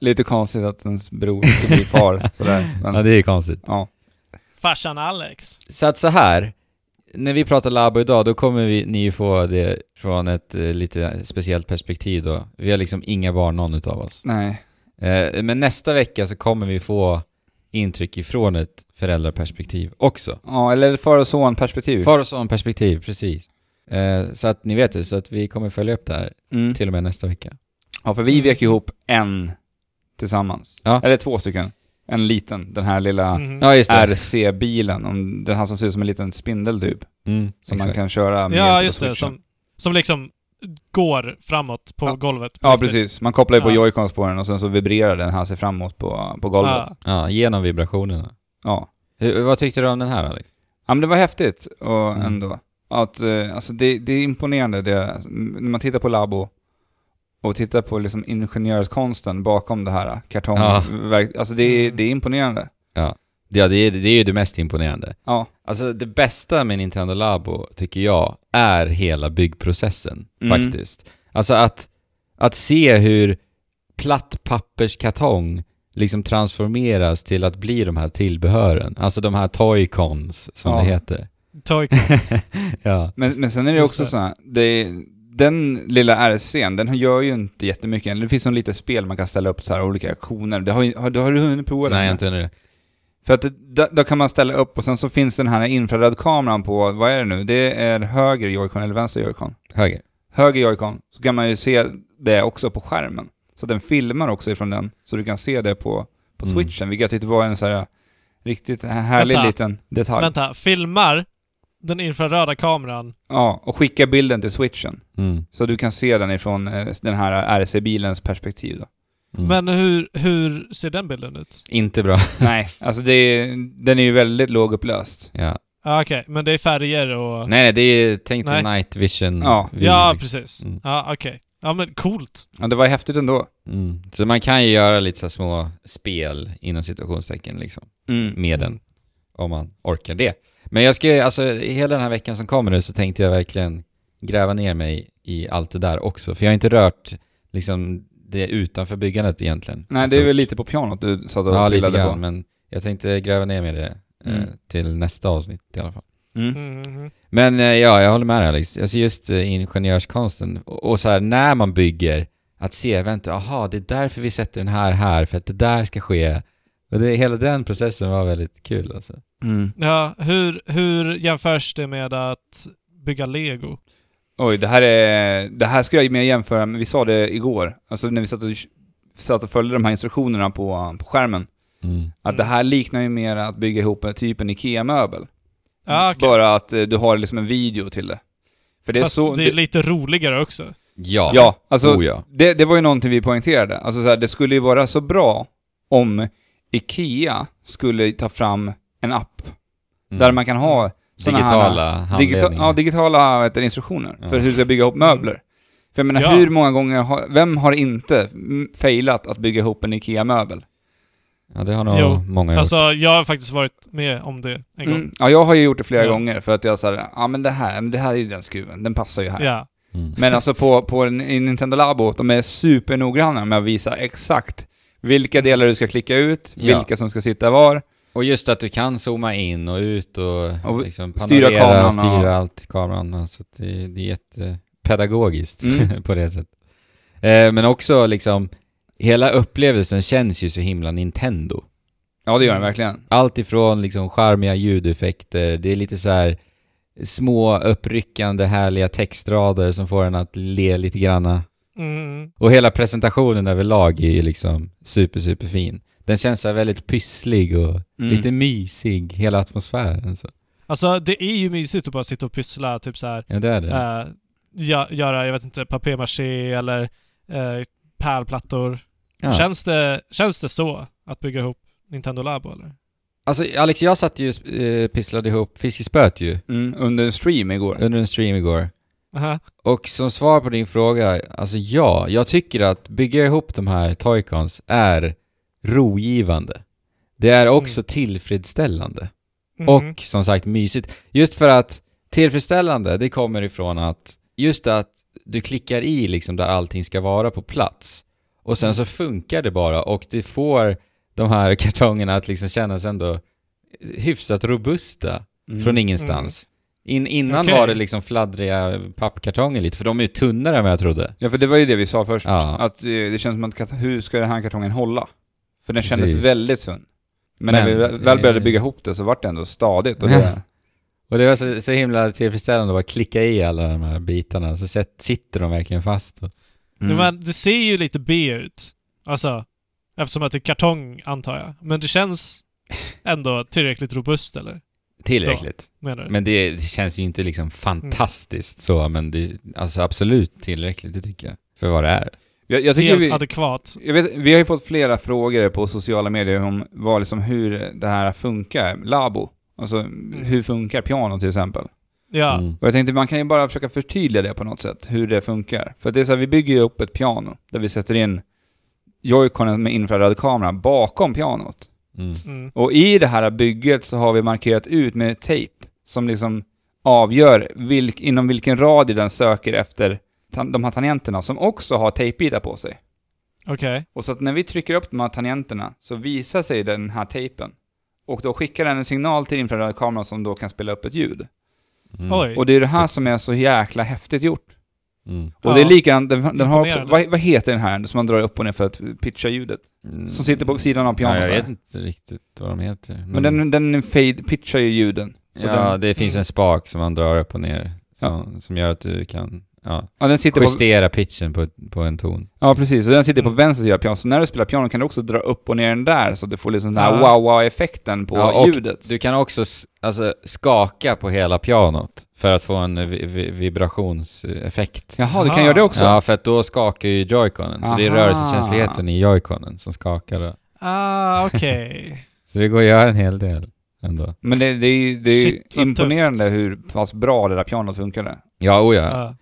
[SPEAKER 1] Lite konstigt att ens bror skulle bli far sådär. Men,
[SPEAKER 2] Ja, det är konstigt.
[SPEAKER 1] ja.
[SPEAKER 3] Farsan Alex.
[SPEAKER 2] Så att så här, när vi pratar Labo idag, då kommer vi, ni ju få det från ett eh, lite speciellt perspektiv då. Vi har liksom inga barn, någon utav oss.
[SPEAKER 1] Nej.
[SPEAKER 2] Eh, men nästa vecka så kommer vi få intryck ifrån ett föräldraperspektiv också.
[SPEAKER 1] Ja, eller far och son-perspektiv.
[SPEAKER 2] Far och son-perspektiv, precis. Eh, så att ni vet det, så att vi kommer följa upp det här
[SPEAKER 1] Mm.
[SPEAKER 2] till och med nästa vecka.
[SPEAKER 1] Ja, för vi vek ihop en tillsammans.
[SPEAKER 2] Ja.
[SPEAKER 1] Eller två stycken. En liten, den här lilla
[SPEAKER 3] Mhm.
[SPEAKER 2] Ja, just det.
[SPEAKER 1] RC-bilen. om- Den här som ser ut som en liten spindel typ.
[SPEAKER 2] Mm,
[SPEAKER 1] Som man
[SPEAKER 2] exakt.
[SPEAKER 1] kan köra med hjälp
[SPEAKER 3] Ja,
[SPEAKER 1] av
[SPEAKER 3] just det.
[SPEAKER 1] switchen.
[SPEAKER 3] Som, som liksom går framåt på
[SPEAKER 1] Ja.
[SPEAKER 3] golvet. på
[SPEAKER 1] Ja,
[SPEAKER 3] riktigt.
[SPEAKER 1] precis. Man kopplar ju på
[SPEAKER 3] Ja.
[SPEAKER 1] joycons på den och sen så vibrerar den här sig framåt på, på golvet. Ja.
[SPEAKER 3] Ja.
[SPEAKER 2] Ja, genom vibrationerna.
[SPEAKER 1] ja.
[SPEAKER 2] Hur, vad tyckte du om den här Alex?
[SPEAKER 1] men det var häftigt och
[SPEAKER 2] Mm.
[SPEAKER 1] ändå. Att, eh, alltså det, det är imponerande det, när man tittar på Labo och tittar på liksom ingenjörskonsten bakom det här kartongen.
[SPEAKER 2] Ja.
[SPEAKER 1] Verk- Alltså det är,
[SPEAKER 3] Mm.
[SPEAKER 1] det är imponerande.
[SPEAKER 2] Ja, det är, det är ju det mest imponerande.
[SPEAKER 1] Ja.
[SPEAKER 2] Alltså det bästa med Nintendo Labo, tycker jag, är hela byggprocessen
[SPEAKER 1] Mm.
[SPEAKER 2] faktiskt. Alltså att, att se hur platt papperskartong liksom transformeras till att bli de här tillbehören. Alltså de här toycons som
[SPEAKER 1] Ja.
[SPEAKER 2] det heter.
[SPEAKER 3] Toy-cons.
[SPEAKER 2] Ja.
[SPEAKER 1] Men, men sen är det
[SPEAKER 3] Just
[SPEAKER 1] också
[SPEAKER 3] det.
[SPEAKER 1] så här, det är, den lilla RSC'n, den gör ju inte jättemycket än. Det finns som lite spel man kan ställa upp så här olika aktioner. Det har, ju- har, det har du hunnit prova
[SPEAKER 2] Nej, jag
[SPEAKER 1] den?
[SPEAKER 2] har inte undrar det.
[SPEAKER 1] För att det, där, där kan man ställa upp och sen så finns den här infrarödkameran på, vad är det nu? Det är höger joycon eller vänster joycon?
[SPEAKER 2] Höger.
[SPEAKER 1] höger joycon, så kan man ju se det också på skärmen. Så den filmar också ifrån den, så du kan se det på, på
[SPEAKER 2] Mm.
[SPEAKER 1] switchen, vilket jag tyckte var en så här riktigt härlig
[SPEAKER 3] Vänta.
[SPEAKER 1] liten detalj.
[SPEAKER 3] Vänta, filmar den infraröda kameran?
[SPEAKER 1] Ja, och skicka bilden till switchen.
[SPEAKER 2] Mm.
[SPEAKER 1] Så du kan se den ifrån eh, den här RC-bilens perspektiv då.
[SPEAKER 2] Mm.
[SPEAKER 3] Men hur, hur ser den bilden ut?
[SPEAKER 2] Inte bra.
[SPEAKER 1] Nej, alltså det är, den är ju väldigt lågupplöst.
[SPEAKER 2] ja.
[SPEAKER 3] Ja, Ah, Okej, men det är färger och...
[SPEAKER 2] Nej, nej, det är tänk
[SPEAKER 3] Nej.
[SPEAKER 2] till night vision.
[SPEAKER 1] Ja.
[SPEAKER 2] video,
[SPEAKER 3] ja,
[SPEAKER 2] liksom.
[SPEAKER 3] precis.
[SPEAKER 2] Mm.
[SPEAKER 3] Ja, okej. Ja, men coolt.
[SPEAKER 1] Ja, det var häftigt ändå.
[SPEAKER 2] Mm. Så man kan ju göra lite så här små spel inom situationstecken liksom,
[SPEAKER 1] Mm.
[SPEAKER 2] med den. Om man orkar det. Men jag ska, alltså hela den här veckan som kommer nu så tänkte jag verkligen gräva ner mig i allt det där också. För jag har inte rört liksom det utanför byggandet egentligen.
[SPEAKER 1] Nej, det är väl lite på pianot du satt och
[SPEAKER 2] Ja, lite
[SPEAKER 1] pillade
[SPEAKER 2] grann,
[SPEAKER 1] på.
[SPEAKER 2] men jag tänkte gräva ner mig i det eh,
[SPEAKER 1] Mm.
[SPEAKER 2] till nästa avsnitt i alla fall.
[SPEAKER 1] Mm.
[SPEAKER 3] Mm. mhm.
[SPEAKER 2] Men eh, ja, jag håller med dig Alex. Alltså just eh, ingenjörskonsten och, och så här när man bygger, att se, vänta, aha, det är därför vi sätter den här här, för att det där ska ske. Och det, hela den processen var väldigt kul alltså.
[SPEAKER 1] Mm.
[SPEAKER 3] Ja, hur, hur jämförs det med att bygga lego?
[SPEAKER 1] Oj, det här är... Det här ska jag mer jämföra med, vi sa det igår, alltså när vi satt och, satt och följde de här instruktionerna på, på skärmen. Att
[SPEAKER 3] Mm.
[SPEAKER 1] det här liknar ju mer att bygga ihop en- typ en IKEA-möbel.
[SPEAKER 3] Ja, Ah, okej.
[SPEAKER 1] Bara att eh, du har liksom en video till det. För det är
[SPEAKER 3] Fast
[SPEAKER 1] så...
[SPEAKER 3] det är lite roligare också.
[SPEAKER 2] Ja,
[SPEAKER 1] ja, alltså
[SPEAKER 2] oh, ja.
[SPEAKER 1] det, det var ju någonting vi poängterade. Alltså så här, det skulle ju vara så bra om IKEA skulle ta fram en app
[SPEAKER 2] Mm.
[SPEAKER 1] där man kan ha såna
[SPEAKER 2] digitala
[SPEAKER 1] här, digita,
[SPEAKER 2] handledningar.
[SPEAKER 1] ja, digitala vad heter det, instruktioner
[SPEAKER 2] Ja.
[SPEAKER 1] för hur du ska bygga ihop möbler. För jag menar,
[SPEAKER 3] Mm. Ja.
[SPEAKER 1] hur många gånger har, vem har inte mm, failat att bygga ihop en IKEA-möbel?
[SPEAKER 2] ja, det har nog
[SPEAKER 3] Jo,
[SPEAKER 2] många gjort.
[SPEAKER 3] Alltså, jag har faktiskt varit med om det en gång.
[SPEAKER 1] Mm. Ja, jag har ju gjort det flera
[SPEAKER 3] Ja.
[SPEAKER 1] gånger för att jag sa ja men det här, men det här är ju den skruven, den passar ju här.
[SPEAKER 3] Ja.
[SPEAKER 2] Mm.
[SPEAKER 1] Men alltså på, på en, i Nintendo Labo, de är supernoggranna med att visa exakt vilka delar du ska klicka ut,
[SPEAKER 2] Ja.
[SPEAKER 1] vilka som ska sitta var.
[SPEAKER 2] Och just att du kan zooma in och ut och,
[SPEAKER 1] Och
[SPEAKER 2] liksom
[SPEAKER 1] styra
[SPEAKER 2] panorera
[SPEAKER 1] kameran
[SPEAKER 2] och styra
[SPEAKER 1] och-
[SPEAKER 2] allt kameran. och Så att det, det är jättepedagogiskt
[SPEAKER 1] Mm.
[SPEAKER 2] på det sättet. Eh, men också liksom, hela upplevelsen känns ju så himla Nintendo.
[SPEAKER 1] Ja, det gör den
[SPEAKER 2] Mm.
[SPEAKER 1] verkligen.
[SPEAKER 2] Allt ifrån liksom charmiga ljudeffekter, det är lite så här små uppryckande härliga textrader som får en att le lite granna.
[SPEAKER 3] Mm.
[SPEAKER 2] Och hela presentationen överlag är ju liksom super, super fin. Den känns så här väldigt pysslig och
[SPEAKER 1] Mm.
[SPEAKER 2] lite mysig, hela atmosfären. Så.
[SPEAKER 3] Alltså, det är ju mysigt att bara sitta och pyssla, typ så här.
[SPEAKER 2] Ja, det är det.
[SPEAKER 3] eh, gö- göra, jag vet inte, papier-maché eller eh, pärlplattor.
[SPEAKER 2] Ja.
[SPEAKER 3] Känns, det, känns det så att bygga ihop Nintendo Labo eller?
[SPEAKER 2] Alltså Alex, jag satt ju och eh, pisslade ihop fiskespöet ju
[SPEAKER 1] Mm, under en stream igår.
[SPEAKER 2] under en stream igår.
[SPEAKER 3] Aha.
[SPEAKER 2] Och som svar på din fråga, alltså ja, jag tycker att bygga ihop de här toycons är rogivande. Det är också
[SPEAKER 3] Mm.
[SPEAKER 2] tillfredsställande.
[SPEAKER 3] Mhm.
[SPEAKER 2] Och som sagt mysigt. Just för att tillfredsställande, det kommer ifrån att just att du klickar i liksom där allting ska vara på plats. Och sen så funkar det bara och det får de här kartongerna att liksom kännas ändå hyfsat robusta
[SPEAKER 1] Mm.
[SPEAKER 2] från ingenstans. In, innan
[SPEAKER 3] Okej.
[SPEAKER 2] var det liksom fladdriga pappkartonger lite, för de är ju tunnare än vad jag trodde.
[SPEAKER 1] Ja, för det var ju det vi sa först.
[SPEAKER 2] Ja.
[SPEAKER 1] Att eh, det känns som att kat- hur ska den här kartongen hålla? För den kändes
[SPEAKER 2] Precis.
[SPEAKER 1] väldigt tunn. Men, när
[SPEAKER 2] Men,
[SPEAKER 1] vi väl- väl
[SPEAKER 2] eh,
[SPEAKER 1] började bygga ihop det så vart det ändå stadigt. Och
[SPEAKER 2] Ja.
[SPEAKER 1] det,
[SPEAKER 2] Och det var så, så himla tillfredsställande att bara klicka i alla de här bitarna, så sätt, sitter de verkligen fast. Och,
[SPEAKER 1] mm.
[SPEAKER 3] Men det ser ju lite B ut. Alltså, eftersom att det är kartong antar jag. Men det känns ändå tillräckligt robust eller?
[SPEAKER 2] tillräckligt.
[SPEAKER 3] Menar du?
[SPEAKER 2] Men det, det känns ju inte liksom fantastiskt så, men det alltså absolut tillräckligt, det tycker jag. För vad det är.
[SPEAKER 1] jag, jag tycker
[SPEAKER 3] Helt
[SPEAKER 1] vi,
[SPEAKER 3] adekvat.
[SPEAKER 1] jag vet, vi har ju fått flera frågor på sociala medier om vad, liksom, hur det här funkar. Labo. Alltså
[SPEAKER 3] Mm.
[SPEAKER 1] hur funkar piano till exempel?
[SPEAKER 3] Ja.
[SPEAKER 2] Mm.
[SPEAKER 1] Och jag tänkte man kan ju bara försöka förtydliga det på något sätt, hur det funkar. För det är så här, vi bygger ju upp ett piano där vi sätter in joyconen med infraröd kamera bakom pianot.
[SPEAKER 2] Mm.
[SPEAKER 3] Mm.
[SPEAKER 1] Och i det här bygget så har vi markerat ut med tejp som liksom avgör vilk, inom vilken radie den söker efter tan- de här tangenterna som också har tejpbitar på sig.
[SPEAKER 3] Okej.
[SPEAKER 1] Och så att när vi trycker upp de här tangenterna så visar sig den här tejpen. Och då skickar den en signal till infraröd kamera som då kan spela upp ett ljud.
[SPEAKER 2] Mm.
[SPEAKER 3] Oj.
[SPEAKER 1] Och det är det här som är så jäkla häftigt gjort.
[SPEAKER 2] Mm.
[SPEAKER 1] Och
[SPEAKER 3] Ja.
[SPEAKER 1] det är likadant, den, den har också,
[SPEAKER 3] Imponerande.
[SPEAKER 1] vad, vad heter den här som man drar upp och ner för att pitcha ljudet? Som sitter på sidan av pianot
[SPEAKER 2] Ja, jag
[SPEAKER 1] där.
[SPEAKER 2] vet inte riktigt vad de heter.
[SPEAKER 1] Men den, den fade, pitchar ju ljuden. Så
[SPEAKER 2] ja,
[SPEAKER 1] den,
[SPEAKER 2] det finns en spak som man drar upp och ner, som,
[SPEAKER 1] Ja.
[SPEAKER 2] som gör att du kan... Ja.
[SPEAKER 1] Ja, den sitter på,
[SPEAKER 2] Justera pitchen på, på en ton.
[SPEAKER 1] ja precis. Så den sitter
[SPEAKER 2] Mm.
[SPEAKER 1] på vänster sida av pianot. Så när du spelar piano kan du också dra upp och ner den där så att du får liksom den här
[SPEAKER 3] Ja.
[SPEAKER 1] wow-wow-effekten på
[SPEAKER 2] Ja, och-
[SPEAKER 1] ljudet.
[SPEAKER 2] Du kan också s- alltså, skaka på hela pianot för att få en vi- vi- vibrationseffekt.
[SPEAKER 1] Jaha, du kan
[SPEAKER 3] Aha.
[SPEAKER 1] göra det också?
[SPEAKER 2] Ja, för att då skakar ju joyconen. Så det är
[SPEAKER 1] Aha.
[SPEAKER 2] rörelsekänsligheten i joyconen som skakar. Då.
[SPEAKER 3] Ah, okej.
[SPEAKER 2] Så det går att göra en hel del ändå.
[SPEAKER 1] Men det, det är ju det är ju
[SPEAKER 3] Shit, vad
[SPEAKER 1] imponerande
[SPEAKER 3] tufft.
[SPEAKER 1] hur pass bra det där pianot funkade.
[SPEAKER 2] Ja, oh ja.
[SPEAKER 3] Ja.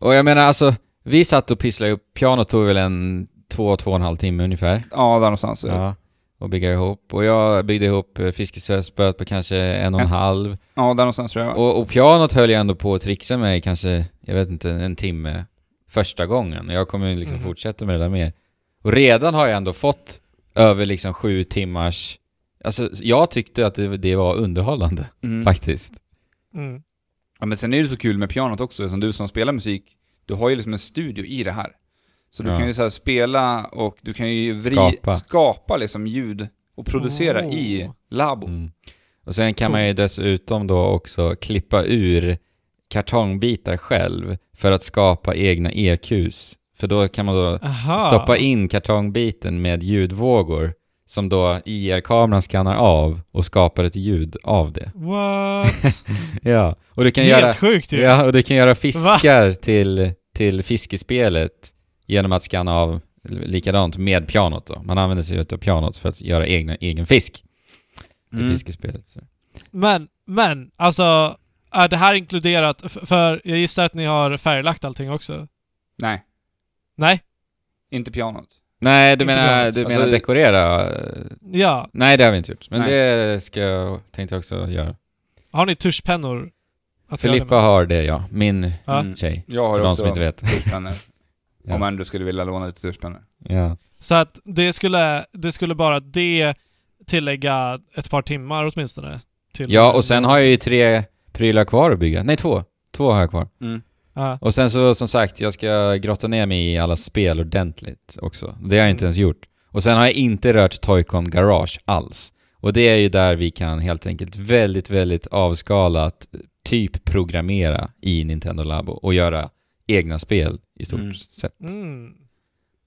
[SPEAKER 2] Och jag menar alltså, vi satt och pysslade upp, pianot tog väl en två, två och en halv timme ungefär.
[SPEAKER 1] Ja, där någonstans. Ja,
[SPEAKER 2] Ja. Och bygga ihop. Och jag byggde ihop eh, fiskespöet på kanske en och en
[SPEAKER 1] Ja.
[SPEAKER 2] halv.
[SPEAKER 1] ja där någonstans tror jag.
[SPEAKER 2] Och, och pianot höll jag ändå på att trixa med i kanske, jag vet inte, en timme första gången. Jag kommer ju liksom
[SPEAKER 3] Mhm.
[SPEAKER 2] fortsätta med det där mer. Och redan har jag ändå fått över liksom sju timmars... Alltså, jag tyckte att det, det var underhållande
[SPEAKER 1] Mm.
[SPEAKER 2] faktiskt.
[SPEAKER 3] Mm.
[SPEAKER 1] Ja, men sen är det så kul med pianot också, som du som spelar musik, du har ju liksom en studio i det här. Så du
[SPEAKER 2] Ja.
[SPEAKER 1] kan ju så här spela och du kan ju vri, skapa.
[SPEAKER 2] Skapa.
[SPEAKER 1] liksom ljud och producera
[SPEAKER 3] Oh.
[SPEAKER 1] i labo.
[SPEAKER 2] Mm. Och sen kan man ju dessutom då också klippa ur kartongbitar själv för att skapa egna EQs. För då kan man då
[SPEAKER 3] Aha.
[SPEAKER 2] stoppa in kartongbiten med ljudvågor som då IR-kameran skannar av och skapar ett ljud av det.
[SPEAKER 3] What?
[SPEAKER 2] Ja, och du kan
[SPEAKER 3] Helt
[SPEAKER 2] göra,
[SPEAKER 3] sjukt ju.
[SPEAKER 2] ja, och du kan göra fiskar till, till fiskespelet genom att skanna av likadant med pianot då. Man använder sig av pianot för att göra egna, egen fisk till
[SPEAKER 1] Mm.
[SPEAKER 2] fiskespelet. Så.
[SPEAKER 3] Men, men, alltså, är det här inkluderat? f- För jag gissar att ni har färglagt allting också?
[SPEAKER 1] Nej,
[SPEAKER 3] Nej?
[SPEAKER 1] inte pianot.
[SPEAKER 2] Nej, du
[SPEAKER 3] Inte
[SPEAKER 2] menar,
[SPEAKER 3] bra.
[SPEAKER 2] du
[SPEAKER 1] Alltså-
[SPEAKER 2] menar dekorera? eh,
[SPEAKER 3] Ja.
[SPEAKER 2] Nej, det har vi inte gjort. Men
[SPEAKER 1] Nej.
[SPEAKER 2] det ska jag, tänkte jag också göra.
[SPEAKER 3] Har ni tuschpennor? Att göra det
[SPEAKER 2] Filippa
[SPEAKER 3] med?
[SPEAKER 2] har det, ja. Min
[SPEAKER 3] Ja.
[SPEAKER 1] Mm.
[SPEAKER 2] tjej.
[SPEAKER 1] Jag har
[SPEAKER 2] För de
[SPEAKER 1] också
[SPEAKER 2] som inte vet.
[SPEAKER 1] tuschpennor.
[SPEAKER 2] Ja.
[SPEAKER 1] Om än du skulle vilja låna lite tuschpennor.
[SPEAKER 2] Ja.
[SPEAKER 3] Så att det skulle, det skulle bara det tillägga ett par timmar åtminstone? Till
[SPEAKER 2] ja, och sen har jag ju tre prylar kvar att bygga. Nej, två. Två har jag kvar.
[SPEAKER 1] Mm.
[SPEAKER 3] Ja.
[SPEAKER 2] Och sen så, som sagt, jag ska grotta ner mig i alla spel ordentligt också. Det har jag inte
[SPEAKER 3] Mm.
[SPEAKER 2] ens gjort. Och sen har jag inte rört Toycon Garage alls. Och det är ju där vi kan helt enkelt väldigt, väldigt avskalat typ programmera i Nintendo Labo och göra egna spel i stort
[SPEAKER 1] Mm.
[SPEAKER 2] sett.
[SPEAKER 3] Mm.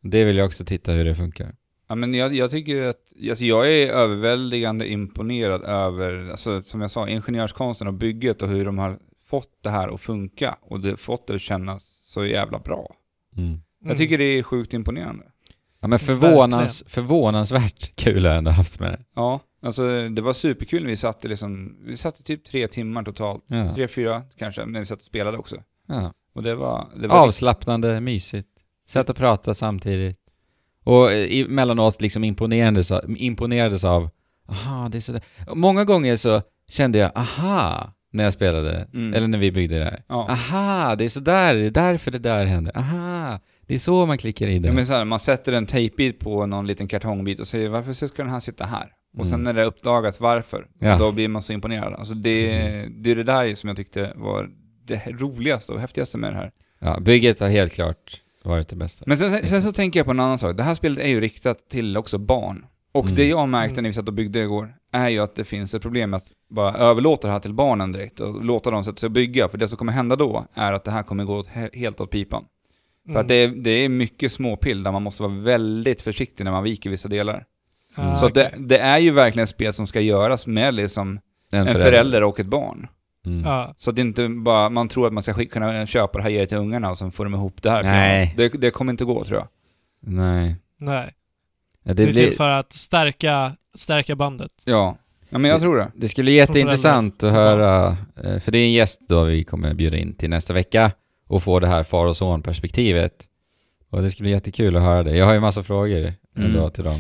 [SPEAKER 2] Det vill jag också titta hur det funkar.
[SPEAKER 1] Ja, men jag, jag tycker att, alltså jag är överväldigande imponerad över, alltså, som jag sa, ingenjörskonsten och bygget och hur de har fått det här att funka och det, fått det att kännas så jävla bra.
[SPEAKER 2] Mm.
[SPEAKER 1] Jag tycker det är sjukt imponerande.
[SPEAKER 2] Ja, men förvånans, förvånansvärt kul har jag ändå haft med det.
[SPEAKER 1] Ja, alltså det var superkul när vi satt i liksom, vi satt i typ tre timmar totalt.
[SPEAKER 2] Ja.
[SPEAKER 1] Tre, fyra kanske, men vi satt och spelade också.
[SPEAKER 2] Ja.
[SPEAKER 1] Och det var... Det var
[SPEAKER 2] Avslappnande, mysigt. Sätt och prata samtidigt. Och eh, emellanåt liksom imponerades av, imponerades av aha, det är sådär. Många gånger så kände jag aha när jag spelade,
[SPEAKER 1] Mm.
[SPEAKER 2] eller när vi byggde det här.
[SPEAKER 1] Ja.
[SPEAKER 2] Aha, det är sådär, det är därför det där händer. Aha, det är så man klickar i det.
[SPEAKER 1] Ja, men så här, man sätter en tejpbit på någon liten kartongbit och säger varför ska den här sitta här? Och sen
[SPEAKER 2] Mm.
[SPEAKER 1] när det uppdagas varför,
[SPEAKER 2] Ja.
[SPEAKER 1] då blir man så imponerad. Alltså det, det är det där som jag tyckte var det roligaste och häftigaste med det här.
[SPEAKER 2] ja, bygget har helt klart varit det bästa.
[SPEAKER 1] Men sen, sen så tänker jag på en annan sak. Det här spelet är ju riktat till också barn. Och
[SPEAKER 2] Mm.
[SPEAKER 1] det jag märkte
[SPEAKER 3] Mm.
[SPEAKER 1] när vi satt och byggde igår är ju att det finns ett problem med att bara överlåta det här till barnen direkt och låta dem sätta sig och bygga. För det som kommer hända då är att det här kommer gå åt, he- helt åt pipan.
[SPEAKER 3] Mm.
[SPEAKER 1] För att det är, det är mycket småpill där man måste vara väldigt försiktig när man viker vissa delar.
[SPEAKER 3] Ah,
[SPEAKER 1] så att det,
[SPEAKER 3] okej.
[SPEAKER 1] det är ju verkligen ett spel som ska göras med liksom en förälder, och ett barn.
[SPEAKER 2] Mm.
[SPEAKER 3] Ja.
[SPEAKER 1] Så att det inte bara, man tror att man ska skick- kunna köpa det här ge det till ungarna och sen får de ihop det här.
[SPEAKER 2] Nej.
[SPEAKER 1] Det, det kommer inte gå tror jag.
[SPEAKER 2] Nej.
[SPEAKER 3] Nej.
[SPEAKER 2] Ja, det,
[SPEAKER 3] Det, är typ till
[SPEAKER 2] blir,
[SPEAKER 3] för att stärka, stärka bandet.
[SPEAKER 1] Ja. ja, men jag tror det.
[SPEAKER 2] det skulle bli jätteintressant att
[SPEAKER 3] Från föräldrar.
[SPEAKER 2] höra, eh, för det är en gäst då vi kommer bjuda in till nästa vecka och få det här far och son-perspektivet. Och det skulle bli jättekul att höra det. Jag har ju massa frågor ändå
[SPEAKER 1] Mm.
[SPEAKER 2] till dem.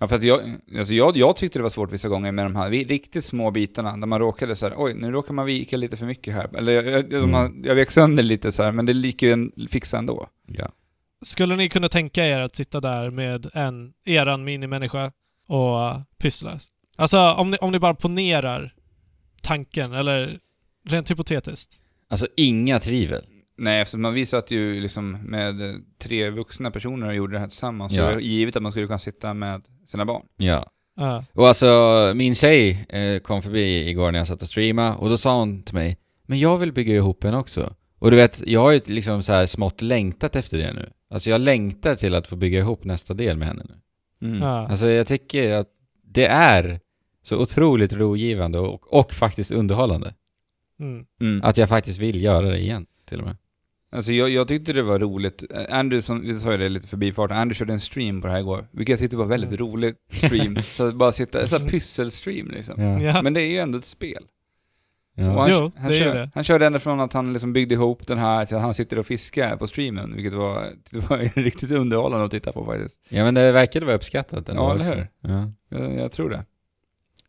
[SPEAKER 1] Ja, för att jag, alltså jag, jag tyckte det var svårt vissa gånger med de här vi- riktigt små bitarna, där man råkade så här, oj, nu råkar man vika lite för mycket här. Eller jag, jag,
[SPEAKER 2] Mm.
[SPEAKER 1] man, jag vek sönder lite så här, men det gick ju en, fixa ändå.
[SPEAKER 2] Ja.
[SPEAKER 3] Skulle ni kunna tänka er att sitta där med en eran minimänniska och uh, pyssla? Alltså om ni, om ni bara ponerar tanken, eller rent hypotetiskt.
[SPEAKER 2] Alltså inga tvivel.
[SPEAKER 1] Nej, eftersom man visar att ju liksom med eh, tre vuxna personer och gjorde det här tillsammans, så
[SPEAKER 2] Ja.
[SPEAKER 1] är det givet att man skulle kunna sitta med sina barn.
[SPEAKER 2] Ja.
[SPEAKER 3] Ja.
[SPEAKER 2] Och alltså min tjej eh, kom förbi igår när jag satt och streama och då sa hon till mig, men jag vill bygga ihop en också. Och du vet, jag har ju liksom så här smått längtat efter det nu. Alltså jag längtar till att få bygga ihop nästa del med henne nu.
[SPEAKER 1] Mm.
[SPEAKER 3] Ja.
[SPEAKER 2] Alltså jag tycker att det är så otroligt rogivande och, och faktiskt underhållande.
[SPEAKER 3] Mm.
[SPEAKER 1] Mm.
[SPEAKER 2] Att jag faktiskt vill göra det igen, till och med.
[SPEAKER 1] Alltså jag, jag tyckte det var roligt. Eh, Andrew, som, vi sa ju det lite förbi farten, Andrew körde en stream på det här igår, vilket jag tyckte var väldigt
[SPEAKER 3] Mm.
[SPEAKER 1] rolig stream. så att bara sitta, så här pysselstream liksom.
[SPEAKER 2] Mm.
[SPEAKER 3] Ja.
[SPEAKER 1] Men det är ju ändå ett spel. Och
[SPEAKER 2] Ja.
[SPEAKER 1] han,
[SPEAKER 3] Jo,
[SPEAKER 1] han,
[SPEAKER 3] det är
[SPEAKER 1] kör,
[SPEAKER 3] det.
[SPEAKER 1] han körde ända från att han liksom byggde ihop den här till att han sitter och fiskar på streamen, vilket var, det var riktigt underhållande att titta på faktiskt.
[SPEAKER 2] ja, men det verkade vara uppskattat ändå
[SPEAKER 1] Ja, eller
[SPEAKER 2] också.
[SPEAKER 1] hur?
[SPEAKER 2] Ja,
[SPEAKER 1] Jag, jag tror det.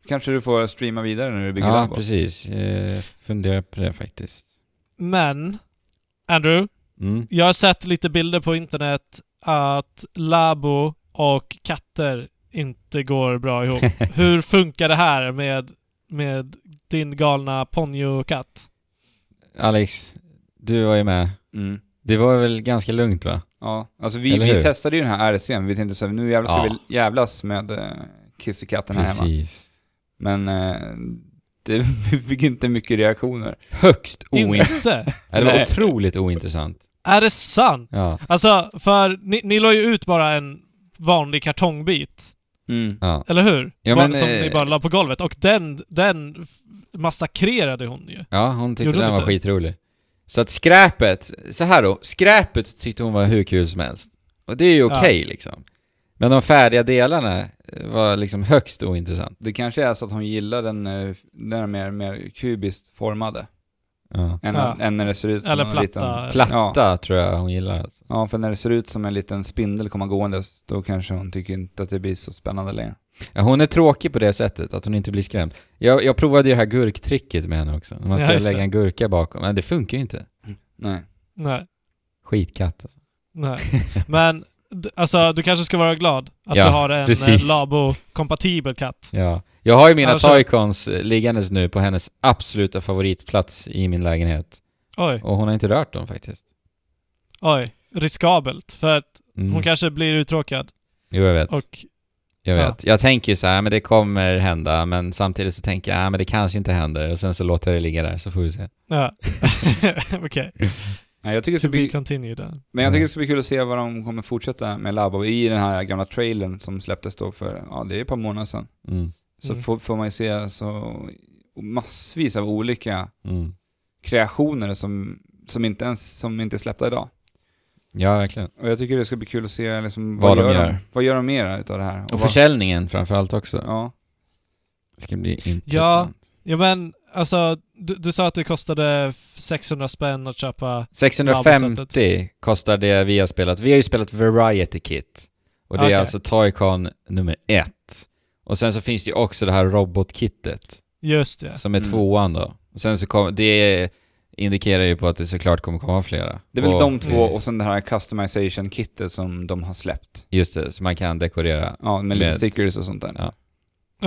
[SPEAKER 1] Kanske du får streama vidare när du bygger
[SPEAKER 2] ja
[SPEAKER 1] Lambo.
[SPEAKER 2] precis. Eh, funderar på det faktiskt.
[SPEAKER 3] Men, Andrew,
[SPEAKER 2] Mm.
[SPEAKER 3] jag har sett lite bilder på internet att labo och katter inte går bra ihop. Hur funkar det här med, med din galna ponyo-katt?
[SPEAKER 2] Alex, du var ju med.
[SPEAKER 1] Mm.
[SPEAKER 2] Det var väl ganska lugnt va?
[SPEAKER 1] Ja, alltså vi,
[SPEAKER 2] Eller hur?
[SPEAKER 1] vi testade ju den här RC'n, vi tänkte så här, nu jävlar ska
[SPEAKER 2] Ja.
[SPEAKER 1] vi jävlas med eh, kissekatten här hemma.
[SPEAKER 2] Precis.
[SPEAKER 1] Men eh, det, vi fick inte mycket reaktioner.
[SPEAKER 2] Högst ointressant.
[SPEAKER 3] Inte?
[SPEAKER 2] det var
[SPEAKER 1] Nej.
[SPEAKER 2] otroligt ointressant.
[SPEAKER 3] Är det sant?
[SPEAKER 2] Ja.
[SPEAKER 3] Alltså, för ni, ni la ju ut bara en vanlig kartongbit,
[SPEAKER 1] Mm.
[SPEAKER 2] ja.
[SPEAKER 3] eller hur?
[SPEAKER 2] Ja,
[SPEAKER 3] Bara-
[SPEAKER 2] men,
[SPEAKER 3] Som
[SPEAKER 2] eh,
[SPEAKER 3] ni bara la på golvet. Och den, den f- massakrerade hon ju.
[SPEAKER 2] Ja, hon tyckte
[SPEAKER 3] Gjorde hon
[SPEAKER 2] den var
[SPEAKER 3] inte?
[SPEAKER 2] skitrolig. Så att skräpet, så här då, skräpet tyckte hon var hur kul som helst. Och det är ju okej liksom. Men de färdiga delarna eh, var liksom högst ointressant.
[SPEAKER 1] Det kanske är så att hon gillar den, eh, den mer, mer kubiskt formade.
[SPEAKER 2] Ja.
[SPEAKER 1] Än,
[SPEAKER 3] Ja.
[SPEAKER 1] än när det ser ut som
[SPEAKER 3] Eller
[SPEAKER 1] en
[SPEAKER 3] platta.
[SPEAKER 1] liten...
[SPEAKER 2] Platta tror jag hon gillar alltså.
[SPEAKER 1] Ja, för när det ser ut som en liten spindel komma gåendes, då kanske hon tycker inte att det blir så spännande längre.
[SPEAKER 2] Ja, hon är tråkig på det sättet, att hon inte blir skrämd. Jag, jag provade ju det här gurktricket med henne också. Man ska
[SPEAKER 3] Ja, just
[SPEAKER 2] lägga
[SPEAKER 3] det.
[SPEAKER 2] en gurka bakom, men det funkar ju inte.
[SPEAKER 1] Nej.
[SPEAKER 3] Nej,
[SPEAKER 2] Skitkatt alltså.
[SPEAKER 3] nej. Men, d- alltså du kanske ska vara glad att
[SPEAKER 2] Ja,
[SPEAKER 3] du har en
[SPEAKER 2] precis.
[SPEAKER 3] eh, labo-kompatibel katt.
[SPEAKER 2] Ja. Jag har ju mina
[SPEAKER 3] Alltså-
[SPEAKER 2] toycons eh, liggandes nu på hennes absoluta favoritplats i min lägenhet.
[SPEAKER 3] Oj,
[SPEAKER 2] Och hon har inte rört dem faktiskt.
[SPEAKER 3] oj. Riskabelt, för att
[SPEAKER 2] Mm.
[SPEAKER 3] hon kanske blir uttråkad.
[SPEAKER 2] Jo, jag vet.
[SPEAKER 3] Och,
[SPEAKER 2] Jag
[SPEAKER 3] Ja.
[SPEAKER 2] vet. Jag tänker ju så här, men det kommer hända, men samtidigt så tänker jag, ja, men det kanske inte händer. Och sen så låter jag det ligga där, så får vi se.
[SPEAKER 3] ja. Okej.
[SPEAKER 1] Nej, jag tycker det
[SPEAKER 3] To
[SPEAKER 1] ska
[SPEAKER 3] be
[SPEAKER 1] bli,
[SPEAKER 3] continued. ja.
[SPEAKER 1] men
[SPEAKER 2] Mm.
[SPEAKER 1] jag tycker det ska bli kul att se vad de kommer fortsätta med Labo i den här gamla trailern som släpptes då för, ja det är ett par månader sedan.
[SPEAKER 2] Mm.
[SPEAKER 1] Så
[SPEAKER 3] Mm.
[SPEAKER 1] får, får man ju se så massvis av olika
[SPEAKER 2] Mm.
[SPEAKER 1] kreationer som, som inte ens som inte är släppta idag.
[SPEAKER 2] Ja, verkligen.
[SPEAKER 1] Och jag tycker det ska bli kul att se liksom,
[SPEAKER 2] Vad de gör.
[SPEAKER 1] De, vad gör de mer utav det här?
[SPEAKER 2] Och
[SPEAKER 1] vad-
[SPEAKER 2] försäljningen framförallt också.
[SPEAKER 1] Ja.
[SPEAKER 2] Det ska bli intressant.
[SPEAKER 3] Ja men, alltså du, du sa att det kostade f- 600 spänn att köpa...
[SPEAKER 2] 650 kostar det vi har spelat. Vi har ju spelat Variety Kit. Och det
[SPEAKER 3] Okej.
[SPEAKER 2] är alltså Toycon nummer ett. Och sen så finns det ju också det här robotkittet.
[SPEAKER 3] Just det.
[SPEAKER 2] Som är
[SPEAKER 1] Mm.
[SPEAKER 2] tvåan då. Och sen så kommer, det indikerar ju på att det såklart kommer komma flera.
[SPEAKER 1] Det är väl
[SPEAKER 2] och, Mm.
[SPEAKER 1] de två och sen det här customization kittet som de har släppt.
[SPEAKER 2] Just det, så man kan dekorera.
[SPEAKER 1] Ja, med, lite
[SPEAKER 2] Med-
[SPEAKER 1] stickers och sånt där.
[SPEAKER 2] Ja.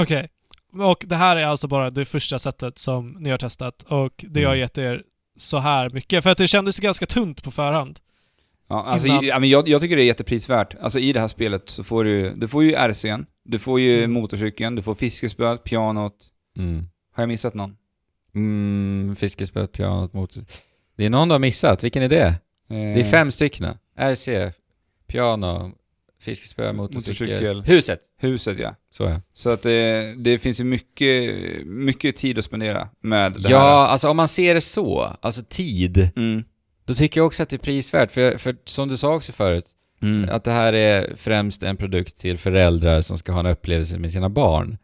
[SPEAKER 3] Okej. Och det här är alltså bara det första sättet som ni har testat och det har
[SPEAKER 2] Mm.
[SPEAKER 3] gett er så här mycket. För att det kändes ganska tunt på förhand.
[SPEAKER 1] Ja, alltså,
[SPEAKER 3] Innan-
[SPEAKER 1] ja, men jag, jag tycker det är jätteprisvärt. Alltså i det här spelet så får du, du får ju RC'n, du får ju
[SPEAKER 3] Mm.
[SPEAKER 1] motorcykeln, du får fiskespöet, pianot.
[SPEAKER 2] Mm.
[SPEAKER 1] Har jag missat någon?
[SPEAKER 2] Mm, fiskespöet, pianot, motor. Det är någon du har missat, vilken är det? Det är
[SPEAKER 1] Eh,
[SPEAKER 2] fem stycken. RC, piano, fiskespö, motorcykel.
[SPEAKER 1] Motorcykel.
[SPEAKER 2] Huset!
[SPEAKER 1] Huset ja.
[SPEAKER 2] Så ja.
[SPEAKER 1] Så att det, det finns ju mycket, mycket tid att spendera med det här.
[SPEAKER 2] Ja, alltså om man ser det så, alltså tid,
[SPEAKER 1] Mm.
[SPEAKER 2] då tycker jag också att det är prisvärt. För, för som du sa också förut,
[SPEAKER 1] Mm.
[SPEAKER 2] att det här är främst en produkt till föräldrar som ska ha en upplevelse med sina barn.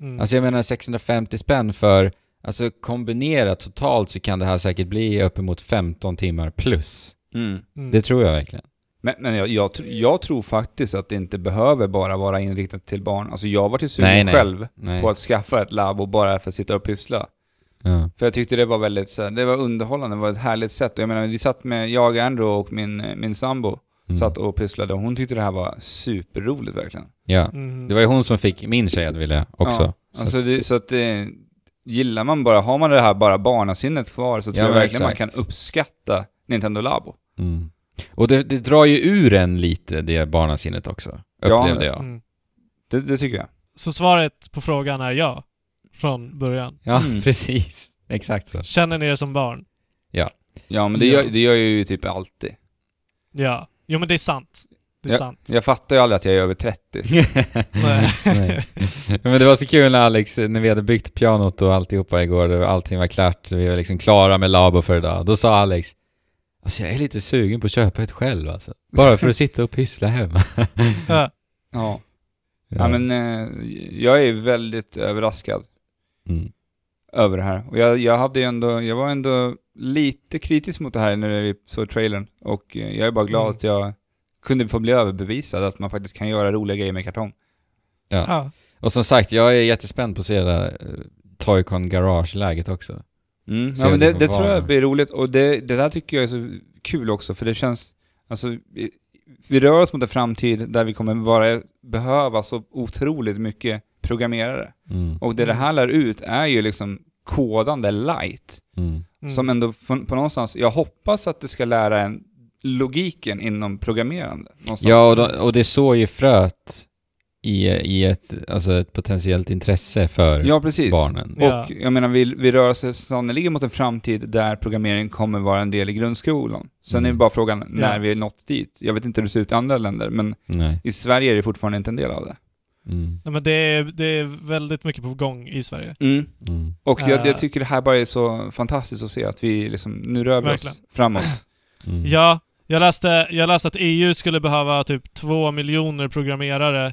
[SPEAKER 3] Mm.
[SPEAKER 2] Alltså jag menar 650 spänn för, alltså kombinerat totalt så kan det här säkert bli uppemot 15 timmar plus.
[SPEAKER 1] Mm.
[SPEAKER 3] Mm.
[SPEAKER 2] Det tror jag verkligen.
[SPEAKER 1] Men, men jag, jag, tr- jag tror faktiskt att det inte behöver bara vara inriktat till barn. Alltså jag var till sugen
[SPEAKER 2] Nej, nej.
[SPEAKER 1] själv
[SPEAKER 2] Nej.
[SPEAKER 1] på att skaffa ett labb och bara för att sitta och pyssla.
[SPEAKER 2] Ja.
[SPEAKER 1] För jag tyckte det var väldigt så här, det var underhållande, det var ett härligt sätt. Och jag menar, vi satt med, jag, Andrew och min, min sambo
[SPEAKER 2] Mm.
[SPEAKER 1] satt och pysslade och hon tyckte det här var superroligt verkligen.
[SPEAKER 2] ja.
[SPEAKER 3] Mm.
[SPEAKER 2] Det var ju hon som fick min tjej att vilja också.
[SPEAKER 1] Ja,
[SPEAKER 2] Så
[SPEAKER 1] alltså det, så att det, gillar man bara, har man det här bara barnasinnet kvar så tror
[SPEAKER 2] Ja,
[SPEAKER 1] jag
[SPEAKER 2] men
[SPEAKER 1] verkligen man
[SPEAKER 2] exakt.
[SPEAKER 1] kan uppskatta Nintendo Labo.
[SPEAKER 2] att- mm. Och det, det drar ju ur en lite, det barnasinnet också.
[SPEAKER 1] Ja.
[SPEAKER 2] Upplevde jag.
[SPEAKER 3] Mm.
[SPEAKER 1] Det, det tycker jag.
[SPEAKER 3] Så svaret på frågan är ja. Från början.
[SPEAKER 2] Ja,
[SPEAKER 1] Mm.
[SPEAKER 2] precis. Exakt så.
[SPEAKER 3] Känner ni er som barn?
[SPEAKER 1] Ja, men det,
[SPEAKER 3] Ja.
[SPEAKER 1] Gör, det gör jag ju typ alltid.
[SPEAKER 3] Ja. Jo men det är sant. Det är
[SPEAKER 1] Ja.
[SPEAKER 3] sant.
[SPEAKER 1] Jag fattar ju aldrig att jag är över 30.
[SPEAKER 3] Nej.
[SPEAKER 2] Nej. Men det var så kul när Alex, när vi hade byggt pianot och alltihopa igår, och allting var klart, vi var liksom klara med Labo för idag. Då sa Alex, alltså jag är lite sugen på att köpa ett själv alltså. Bara för att sitta och pyssla hemma.
[SPEAKER 3] Ja.
[SPEAKER 1] Ja. ja, men eh, jag är väldigt överraskad
[SPEAKER 2] Mm.
[SPEAKER 1] över det här. Och jag, jag hade ju ändå, jag var ändå lite kritisk mot det här när vi såg trailern. Och eh, jag är bara glad
[SPEAKER 3] Mm.
[SPEAKER 1] att jag kunde få bli överbevisad att man faktiskt kan göra roliga grejer med kartong.
[SPEAKER 3] Ja.
[SPEAKER 2] Och som sagt, jag är jättespänd på att se det där eh, Toycon Garage-läget också.
[SPEAKER 1] Mm.
[SPEAKER 2] Se
[SPEAKER 1] Ja, men det,
[SPEAKER 2] det som
[SPEAKER 1] det
[SPEAKER 2] var
[SPEAKER 1] tror jag
[SPEAKER 2] det.
[SPEAKER 1] blir roligt och det, det där tycker jag är så kul också för det känns, alltså vi, vi rör oss mot en framtid där vi kommer vara, behöva så otroligt mycket programmerare.
[SPEAKER 2] Mm.
[SPEAKER 1] Och det det här lär ut är ju liksom kodande light.
[SPEAKER 2] Mm.
[SPEAKER 3] Mm.
[SPEAKER 1] Som ändå fun- på någonstans, jag hoppas att det ska lära en logiken inom programmerande. Någonstans.
[SPEAKER 2] Ja, och, de, och det såg ju fröet i, i ett, alltså ett potentiellt intresse för
[SPEAKER 1] ja precis.
[SPEAKER 2] barnen.
[SPEAKER 1] Och
[SPEAKER 3] Ja.
[SPEAKER 1] jag menar, vi, vi rör oss sannerligen mot en framtid där programmering kommer vara en del i grundskolan. Sen är
[SPEAKER 2] Mm.
[SPEAKER 1] ju bara frågan när
[SPEAKER 3] Ja.
[SPEAKER 1] vi är nått dit. Jag vet inte hur det ser ut i andra länder, men
[SPEAKER 2] Nej.
[SPEAKER 1] i Sverige är det fortfarande inte en del av det.
[SPEAKER 2] Mm.
[SPEAKER 3] Nej, men det är, det är väldigt mycket på gång i Sverige.
[SPEAKER 2] Mm.
[SPEAKER 1] Och jag,
[SPEAKER 3] Äh.
[SPEAKER 1] jag tycker det här bara är så fantastiskt att se att vi liksom, nu rör vi oss
[SPEAKER 3] Verkligen.
[SPEAKER 1] framåt.
[SPEAKER 2] Mm.
[SPEAKER 3] Ja, jag läste, jag läste att EU skulle behöva typ två miljoner programmerare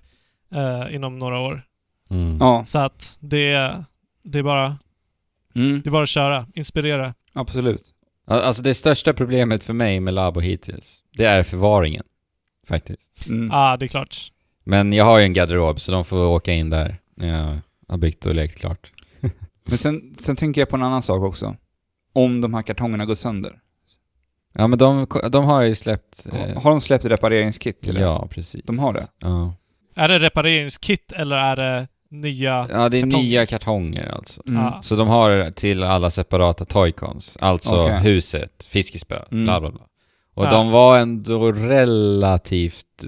[SPEAKER 3] eh, inom några år.
[SPEAKER 2] Mm.
[SPEAKER 1] Ja,
[SPEAKER 3] Så att det, det, är bara,
[SPEAKER 1] mm,
[SPEAKER 3] det är bara att köra, inspirera.
[SPEAKER 1] absolut.
[SPEAKER 2] Al- Alltså det största problemet för mig med Labo hittills, det är förvaringen. Faktiskt.
[SPEAKER 1] Mm.
[SPEAKER 3] Ah, det är klart.
[SPEAKER 2] Men jag har ju en garderob så de får åka in där när jag har byggt och lekt klart.
[SPEAKER 1] Men sen, sen tänker jag på en annan sak också. Om de här kartongerna går sönder.
[SPEAKER 2] Ja men de, de har ju släppt...
[SPEAKER 1] Har-
[SPEAKER 2] Eh,
[SPEAKER 1] Har de släppt repareringskit till det?
[SPEAKER 2] ja, precis.
[SPEAKER 1] De har det?
[SPEAKER 2] Ja,
[SPEAKER 3] Är det repareringskit eller är det nya?
[SPEAKER 2] ja det är
[SPEAKER 3] Kartonger.
[SPEAKER 2] nya kartonger alltså.
[SPEAKER 1] Mm.
[SPEAKER 3] Ah.
[SPEAKER 2] Så de har till alla separata toycons, alltså
[SPEAKER 1] Okej.
[SPEAKER 2] huset, fiskespö,
[SPEAKER 1] Mm.
[SPEAKER 2] bla bla bla. Och
[SPEAKER 3] Ja.
[SPEAKER 2] de var ändå relativt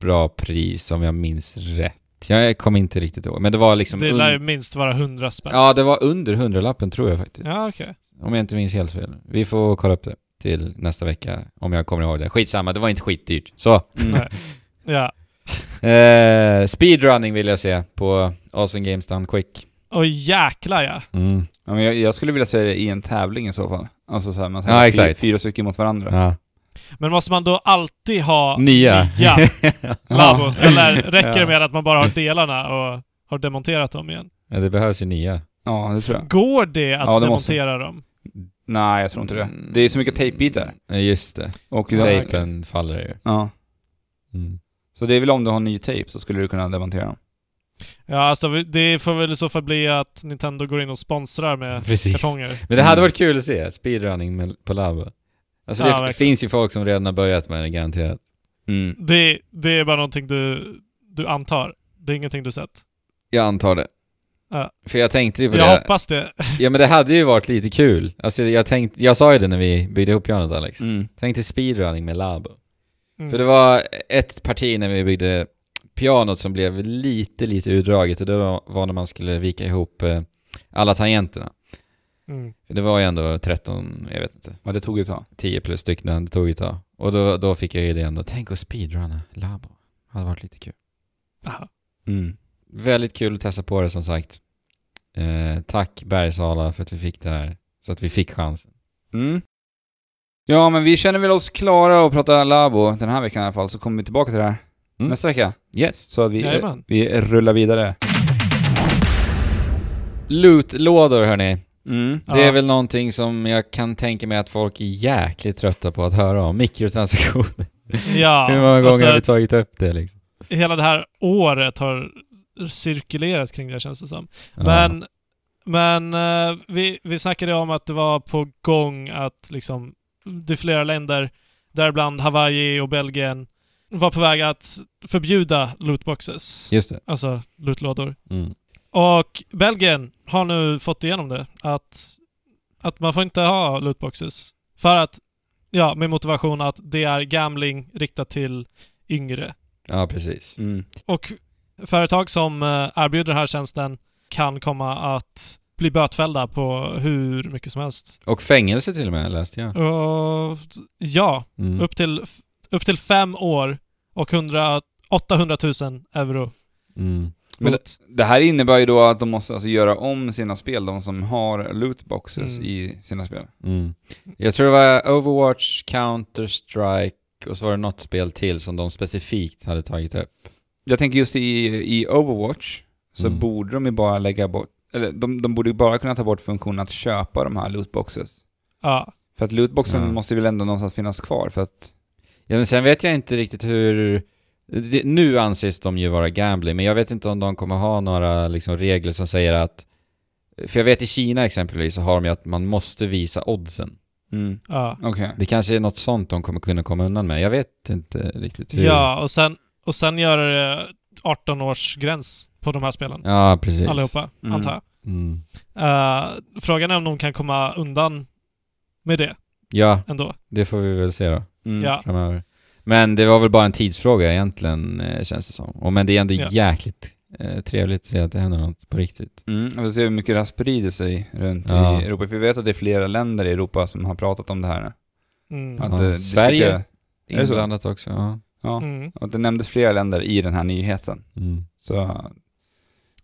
[SPEAKER 2] bra pris om jag minns rätt. Jag kommer inte riktigt ihåg, men det var liksom...
[SPEAKER 3] Det
[SPEAKER 2] un-
[SPEAKER 3] lär ju minst vara hundra spänn.
[SPEAKER 2] Ja, det var under hundralappen tror jag faktiskt.
[SPEAKER 3] Ja, okej.
[SPEAKER 2] Om jag inte minns helt fel. Vi får kolla upp det till nästa vecka, om jag kommer ihåg det. Skitsamma, det var inte skitdyrt. Så.
[SPEAKER 1] Mm.
[SPEAKER 3] Nej. Ja.
[SPEAKER 2] Eh, speedrunning vill jag se på Awesome Games Done Quick.
[SPEAKER 3] Och jäklar ja.
[SPEAKER 2] Mm.
[SPEAKER 1] Ja, men jag, jag skulle vilja se det i en tävling i så fall. Alltså så här, man
[SPEAKER 2] Ja,
[SPEAKER 1] säger fyra,
[SPEAKER 2] exakt.
[SPEAKER 1] fyra stycken mot varandra.
[SPEAKER 2] Ja.
[SPEAKER 3] Men måste man då alltid ha
[SPEAKER 2] Nya.
[SPEAKER 3] nya labos?
[SPEAKER 1] Mm. Ja.
[SPEAKER 3] Eller räcker det med att man bara har delarna och har demonterat dem igen?
[SPEAKER 2] Ja, det behövs ju nya.
[SPEAKER 1] Ja, det tror jag.
[SPEAKER 3] Går det att
[SPEAKER 1] Ja, det måste.
[SPEAKER 3] demontera dem?
[SPEAKER 1] Nej, jag tror inte det.
[SPEAKER 2] Mm.
[SPEAKER 1] Det är så mycket tejpbitar.
[SPEAKER 2] Ja, just det.
[SPEAKER 1] Och
[SPEAKER 3] Tejp.
[SPEAKER 2] Tejpen faller ju.
[SPEAKER 1] Ja.
[SPEAKER 2] Mm.
[SPEAKER 1] Så det är väl om du har ny tejp så skulle du kunna demontera dem.
[SPEAKER 3] Ja, alltså vi- det får väl i så fall bli att Nintendo går in och sponsrar med
[SPEAKER 2] Precis.
[SPEAKER 3] kartonger.
[SPEAKER 2] Men det hade varit kul att se, speedrunning med, på Labo. Alltså det
[SPEAKER 3] Ja, verkligen.
[SPEAKER 2] finns ju folk som redan har börjat med det, garanterat.
[SPEAKER 1] Mm.
[SPEAKER 3] Det, det är bara någonting du, du antar. Det är ingenting du sett.
[SPEAKER 2] Jag antar det.
[SPEAKER 3] Ja.
[SPEAKER 2] För jag tänkte ju på
[SPEAKER 3] Jag
[SPEAKER 2] det.
[SPEAKER 3] hoppas det.
[SPEAKER 2] Ja men det hade ju varit lite kul. Alltså jag tänkte, jag sa ju det när vi byggde ihop pianot Alex.
[SPEAKER 1] Mm.
[SPEAKER 2] Tänk dig speedrunning med Labo.
[SPEAKER 3] Mm.
[SPEAKER 2] För det var ett parti när vi byggde pianot som blev lite, lite urdraget och det var- var när man skulle vika ihop eh, alla tangenterna.
[SPEAKER 3] Mm.
[SPEAKER 2] För Det var ju ändå 13, jag vet inte,
[SPEAKER 1] Ja, det tog ett tag.
[SPEAKER 2] 10 plus stycken, det tog ett tag. Och då, då fick jag ju idén då, tänk att speedrunna Labo. Hade varit lite kul.
[SPEAKER 3] Aha.
[SPEAKER 1] Mm.
[SPEAKER 2] Väldigt kul att testa på det som sagt. Eh, tack Bergsala för att vi fick det här, så att vi fick chansen.
[SPEAKER 1] Mm. Ja, men vi känner väl oss klara att prata Labo den här veckan i alla fall, så kommer vi tillbaka till det här
[SPEAKER 2] Mm.
[SPEAKER 1] nästa vecka.
[SPEAKER 2] Yes.
[SPEAKER 1] Så att vi,
[SPEAKER 3] Jajamän.
[SPEAKER 1] vi rullar vidare.
[SPEAKER 2] Lootlådor hörni.
[SPEAKER 1] Mm.
[SPEAKER 3] Ja.
[SPEAKER 2] Det är väl någonting som jag kan tänka mig att folk är jäkligt trötta på att höra om. Mikrotransaktioner.
[SPEAKER 3] Ja,
[SPEAKER 2] Hur många gånger
[SPEAKER 3] alltså,
[SPEAKER 2] har vi tagit upp det liksom?
[SPEAKER 3] hela det här året har cirkulerat kring det känns det som. Men, men eh, vi, vi snackade om att det var på gång att liksom, det är flera länder, däribland Hawaii och Belgien, var på väg att förbjuda lootboxes.
[SPEAKER 2] Ja, just det.
[SPEAKER 3] Alltså lootlådor.
[SPEAKER 2] Mm.
[SPEAKER 3] Och Belgien har nu fått igenom det, att, att man får inte ha lootboxes. För att, ja, med motivation att det är gambling riktat till yngre.
[SPEAKER 2] Ja, precis.
[SPEAKER 1] Mm.
[SPEAKER 3] Och företag som eh, erbjuder den här tjänsten kan komma att bli bötfällda på hur mycket som helst.
[SPEAKER 2] Och fängelse till och med läste jag.
[SPEAKER 3] Och, ja,
[SPEAKER 2] Mm.
[SPEAKER 3] upp, till, upp till fem år och 100, 800 000 euro.
[SPEAKER 2] Mm.
[SPEAKER 1] Men
[SPEAKER 3] Mot-
[SPEAKER 1] Det här innebär ju då att de måste alltså göra om sina spel, de som har lootboxes
[SPEAKER 3] Mm.
[SPEAKER 1] i sina spel.
[SPEAKER 2] Mm. Jag tror det var Overwatch, Counter-Strike och så var det något spel till som de specifikt hade tagit upp.
[SPEAKER 1] Jag tänker just i, i Overwatch så
[SPEAKER 2] Mm.
[SPEAKER 1] borde de ju bara lägga bort, eller de, de borde ju bara kunna ta bort funktionen att köpa de här lootboxes.
[SPEAKER 3] Ja.
[SPEAKER 1] För att lootboxen
[SPEAKER 2] Ja.
[SPEAKER 1] måste väl ändå någonstans finnas kvar för att...
[SPEAKER 2] Ja, men sen vet jag inte riktigt hur... det- Nu anses de ju vara gambling, men jag vet inte om de kommer ha några liksom, regler som säger att... För jag vet i Kina exempelvis så har de ju att man måste visa oddsen.
[SPEAKER 1] Mm.
[SPEAKER 3] ja.
[SPEAKER 1] Okej.
[SPEAKER 2] Det kanske är något sånt de kommer kunna komma undan med. Jag vet inte riktigt hur...
[SPEAKER 3] Ja, och sen, och sen gör det 18-årsgräns på de här spelen.
[SPEAKER 2] Ja, precis.
[SPEAKER 3] Allihopa,
[SPEAKER 1] Mm.
[SPEAKER 3] antar jag.
[SPEAKER 2] Mm.
[SPEAKER 3] Eh, frågan är om de kan komma undan med det
[SPEAKER 2] Ja,
[SPEAKER 3] ändå.
[SPEAKER 2] det får vi väl se då
[SPEAKER 1] Mm.
[SPEAKER 3] Ja.
[SPEAKER 2] framöver. Men det var väl bara en tidsfråga egentligen, eh, känns det som. Och, men det är ändå
[SPEAKER 3] Ja.
[SPEAKER 2] jäkligt eh, trevligt att se att det händer något på riktigt.
[SPEAKER 1] Mm. Vi får se hur mycket det här sprider sig runt
[SPEAKER 2] Ja.
[SPEAKER 1] i Europa. För vi vet att det är flera länder i Europa som har pratat om det här. nu.
[SPEAKER 3] Mm.
[SPEAKER 1] Att,
[SPEAKER 2] Ja,
[SPEAKER 1] eh, det
[SPEAKER 2] Sverige.
[SPEAKER 1] skulle- Är det så?
[SPEAKER 2] Inblandat också, ja.
[SPEAKER 1] Ja.
[SPEAKER 3] Mm.
[SPEAKER 1] Och det nämndes flera länder i den här nyheten.
[SPEAKER 2] Mm.
[SPEAKER 1] Så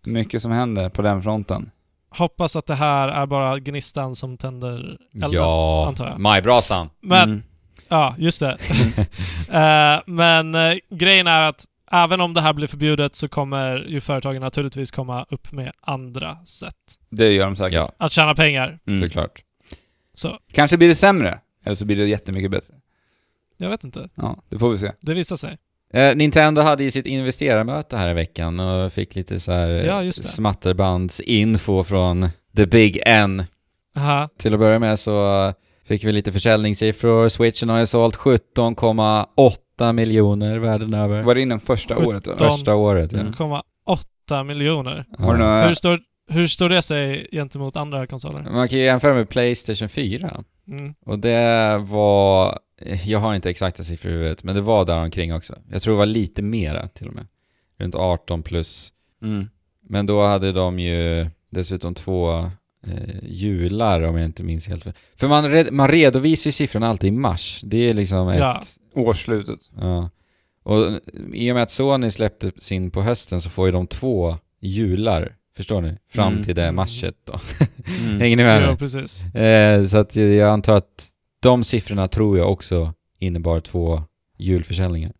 [SPEAKER 1] mycket som händer på den fronten.
[SPEAKER 3] Hoppas att det här är bara gnistan som tänder elden.
[SPEAKER 2] Ja,
[SPEAKER 3] antar jag.
[SPEAKER 2] majbrasan.
[SPEAKER 3] Men,
[SPEAKER 1] Mm.
[SPEAKER 3] ja, just det. Eh, men eh, grejen är att även om det här blir förbjudet så kommer ju företagen naturligtvis komma upp med andra sätt
[SPEAKER 1] Det gör de säkert.
[SPEAKER 2] Ja,
[SPEAKER 3] att tjäna pengar.
[SPEAKER 1] Mm.
[SPEAKER 2] såklart.
[SPEAKER 3] Så,
[SPEAKER 1] Kanske blir det sämre, eller så blir det jättemycket bättre.
[SPEAKER 3] jag vet inte.
[SPEAKER 1] Ja, det får vi se.
[SPEAKER 3] Det visar sig.
[SPEAKER 2] Eh, Nintendo hade ju sitt investerarmöte här i veckan och fick lite så här eh,
[SPEAKER 3] Ja, just det.
[SPEAKER 2] smatterbandsinfo från the big N.
[SPEAKER 3] Aha.
[SPEAKER 2] Till att börja med så fick vi lite försäljningssiffror. Switchen har ju sålt 17,8 miljoner världen över.
[SPEAKER 1] Var det inom första
[SPEAKER 3] Sjutton.
[SPEAKER 1] året? Eller?
[SPEAKER 3] Ja.
[SPEAKER 2] Första året, ja.
[SPEAKER 1] Mm.
[SPEAKER 3] 1,8 miljoner.
[SPEAKER 1] Har du några...
[SPEAKER 3] Hur, står, hur står det sig gentemot andra konsoler?
[SPEAKER 2] Man kan ju jämföra med Playstation 4.
[SPEAKER 3] Mm.
[SPEAKER 2] Och det var... Jag har inte exakta siffror i huvudet, men det var där omkring också. Jag tror det var lite mera till och med. Runt 18 plus.
[SPEAKER 1] Mm.
[SPEAKER 2] Men då hade de ju dessutom två eh, jular om jag inte minns helt fel. För man, red, man redovisar ju siffrorna alltid i mars. Det är liksom ett...
[SPEAKER 3] Ja.
[SPEAKER 1] Årsslutet.
[SPEAKER 2] Ja. Och eh, i och med att Sony släppte sin på hösten så får ju de två jular, förstår ni? Fram
[SPEAKER 1] Mm.
[SPEAKER 2] till det marset då.
[SPEAKER 1] Mm.
[SPEAKER 2] Hänger ni med
[SPEAKER 3] Ja,
[SPEAKER 2] nu?
[SPEAKER 3] precis.
[SPEAKER 2] Eh, så att jag antar att de siffrorna tror jag också innebar två julförsäljningar.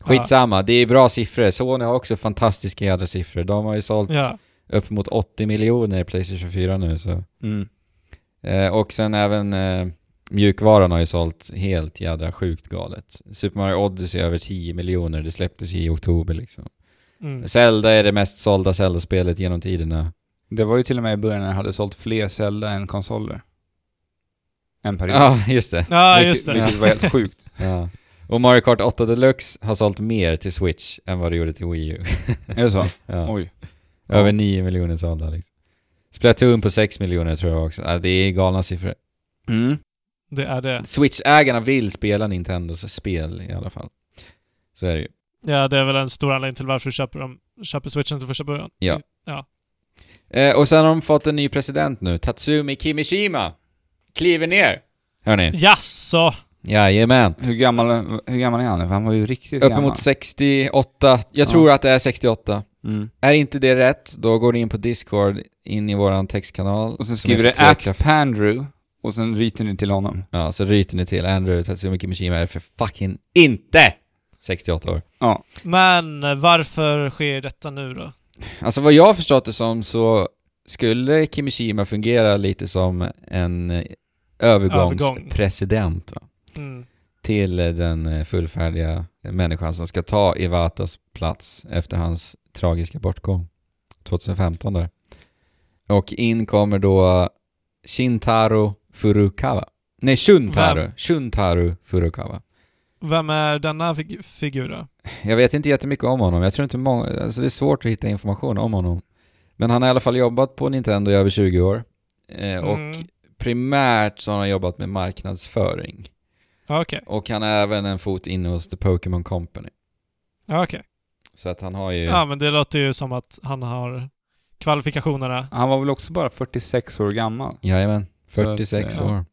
[SPEAKER 2] Skitsamma, det är bra siffror. Sony har också fantastiska jädra siffror. De har ju sålt
[SPEAKER 3] Ja.
[SPEAKER 2] upp mot 80 miljoner i Playstation 4 nu. Så.
[SPEAKER 1] Mm.
[SPEAKER 2] Eh, och sen även eh, mjukvaran har ju sålt helt jädra sjukt galet. Super Mario Odyssey över 10 miljoner, det släpptes i oktober liksom.
[SPEAKER 3] Mm.
[SPEAKER 2] Zelda är det mest sålda Zelda-spelet genom tiderna.
[SPEAKER 1] Det var ju till och med i början när jag hade sålt fler Zelda än konsoler. En period.
[SPEAKER 2] Ja, just det.
[SPEAKER 3] Ja,
[SPEAKER 1] Vilket-
[SPEAKER 3] just det.
[SPEAKER 1] Vilket var helt sjukt.
[SPEAKER 2] Ja. Och Mario Kart 8 Deluxe har sålt mer till Switch än vad det gjorde till Wii U.
[SPEAKER 1] Är det så?
[SPEAKER 2] Ja.
[SPEAKER 1] Oj.
[SPEAKER 2] Över 9 miljoner sålda liksom. Splatoon på 6 miljoner tror jag också. Ja, det är galna siffror.
[SPEAKER 1] Mm.
[SPEAKER 3] Det är det.
[SPEAKER 2] Switch-ägarna vill spela Nintendos spel i alla fall. Så är det ju.
[SPEAKER 3] Ja, det är väl en stor anledning till varför vi köper, dem, köper switchen till första början.
[SPEAKER 2] Ja.
[SPEAKER 3] Ja.
[SPEAKER 2] Eh, och sen har de fått en ny president nu. Tatsumi Kimishima. Kliver ner. Hörni.
[SPEAKER 3] Jaså?
[SPEAKER 2] Jajamän.
[SPEAKER 1] Hur, gammal, hur gammal är han nu? För Han var ju riktigt gammal.
[SPEAKER 2] Uppemot 68.
[SPEAKER 1] Ja.
[SPEAKER 2] Jag tror att det är 68.
[SPEAKER 1] Mm.
[SPEAKER 2] Är inte det rätt, då går ni in på Discord, in i våran textkanal.
[SPEAKER 1] Och sen
[SPEAKER 2] som
[SPEAKER 1] skriver det
[SPEAKER 2] heter
[SPEAKER 1] Act
[SPEAKER 2] Trekraft.
[SPEAKER 1] Pandrew och sen ryter ni till honom.
[SPEAKER 2] Ja, så ryter ni till. Andrew Tatsumi Kimishima är för fucking INTE 68 år.
[SPEAKER 3] Men eh, varför sker detta nu då?
[SPEAKER 2] Alltså vad jag har förstått det som så skulle Kimishima fungera lite som en eh, övergångspresident. Va?
[SPEAKER 3] Mm.
[SPEAKER 2] till den eh, fullfärdiga människan som ska ta Iwatas plats efter hans tragiska bortgång 2015 där. Och in kommer då Shintaro Furukawa. Nej, Shuntaro.
[SPEAKER 3] Vem?
[SPEAKER 2] Shuntaro Furukawa.
[SPEAKER 3] Vem är denna fig figur då?
[SPEAKER 2] Jag vet inte jättemycket om honom. Jag tror inte många, alltså det är svårt att hitta information om honom. Men han har i alla fall jobbat på Nintendo i över 20 år. Eh, Och
[SPEAKER 3] Mm.
[SPEAKER 2] primärt så har han jobbat med marknadsföring.
[SPEAKER 3] Ja, Okej.
[SPEAKER 2] Och han har även en fot inne hos The Pokémon Company.
[SPEAKER 3] Ja, okej.
[SPEAKER 2] Så att han har ju...
[SPEAKER 3] Ja, men det låter ju som att han har kvalifikationerna.
[SPEAKER 1] Han var väl också bara 46 år gammal.
[SPEAKER 2] Jajamän,
[SPEAKER 1] Så att,
[SPEAKER 2] 46
[SPEAKER 1] ja.
[SPEAKER 2] år.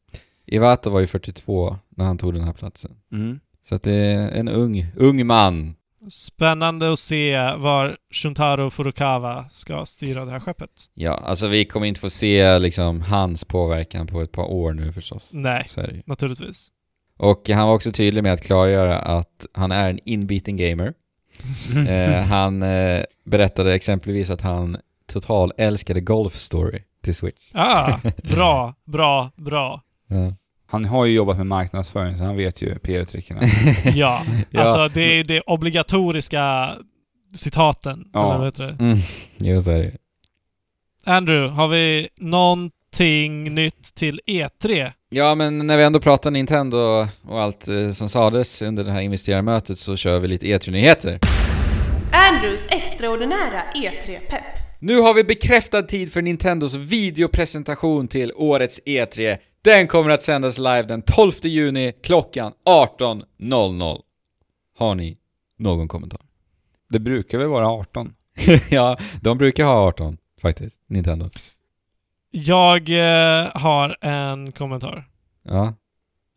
[SPEAKER 2] Iwata var ju 42 när han tog den här platsen.
[SPEAKER 1] Mm.
[SPEAKER 2] Så att det är en ung, ung man.
[SPEAKER 3] Spännande att se var Shuntaro Furukawa ska styra det här skeppet.
[SPEAKER 2] Ja, alltså vi kommer inte få se liksom hans påverkan på ett par år nu förstås.
[SPEAKER 3] Nej,
[SPEAKER 2] Så är det ju.
[SPEAKER 3] naturligtvis.
[SPEAKER 2] Och han var också tydlig med att klargöra att han är en inbiten gamer. Eh, han eh, berättade exempelvis att han total älskade Golf Story till Switch.
[SPEAKER 3] Ah, bra, bra, bra.
[SPEAKER 2] Ja.
[SPEAKER 1] Han har ju jobbat med marknadsföring, så han vet ju PR-trickerna.
[SPEAKER 3] Ja,
[SPEAKER 2] Ja.
[SPEAKER 3] alltså det är det obligatoriska citaten.
[SPEAKER 1] Ja.
[SPEAKER 3] Eller vad heter det?
[SPEAKER 2] Mm, jo, så är det ju.
[SPEAKER 3] Andrew, har vi någonting nytt till E E3?
[SPEAKER 2] Ja, men när vi ändå pratar Nintendo och allt eh, som sades under det här investerarmötet så kör vi lite E3-nyheter.
[SPEAKER 4] Andrews extraordinära E E3-pepp.
[SPEAKER 2] Nu har vi bekräftad tid för Nintendos videopresentation till årets E3. Den kommer att sändas live den 12 juni klockan 18.00. Har ni någon kommentar?
[SPEAKER 1] Det brukar väl vara 18?
[SPEAKER 2] ja, de brukar ha 18 faktiskt, Nintendo.
[SPEAKER 3] Jag eh, har en kommentar.
[SPEAKER 2] Ja,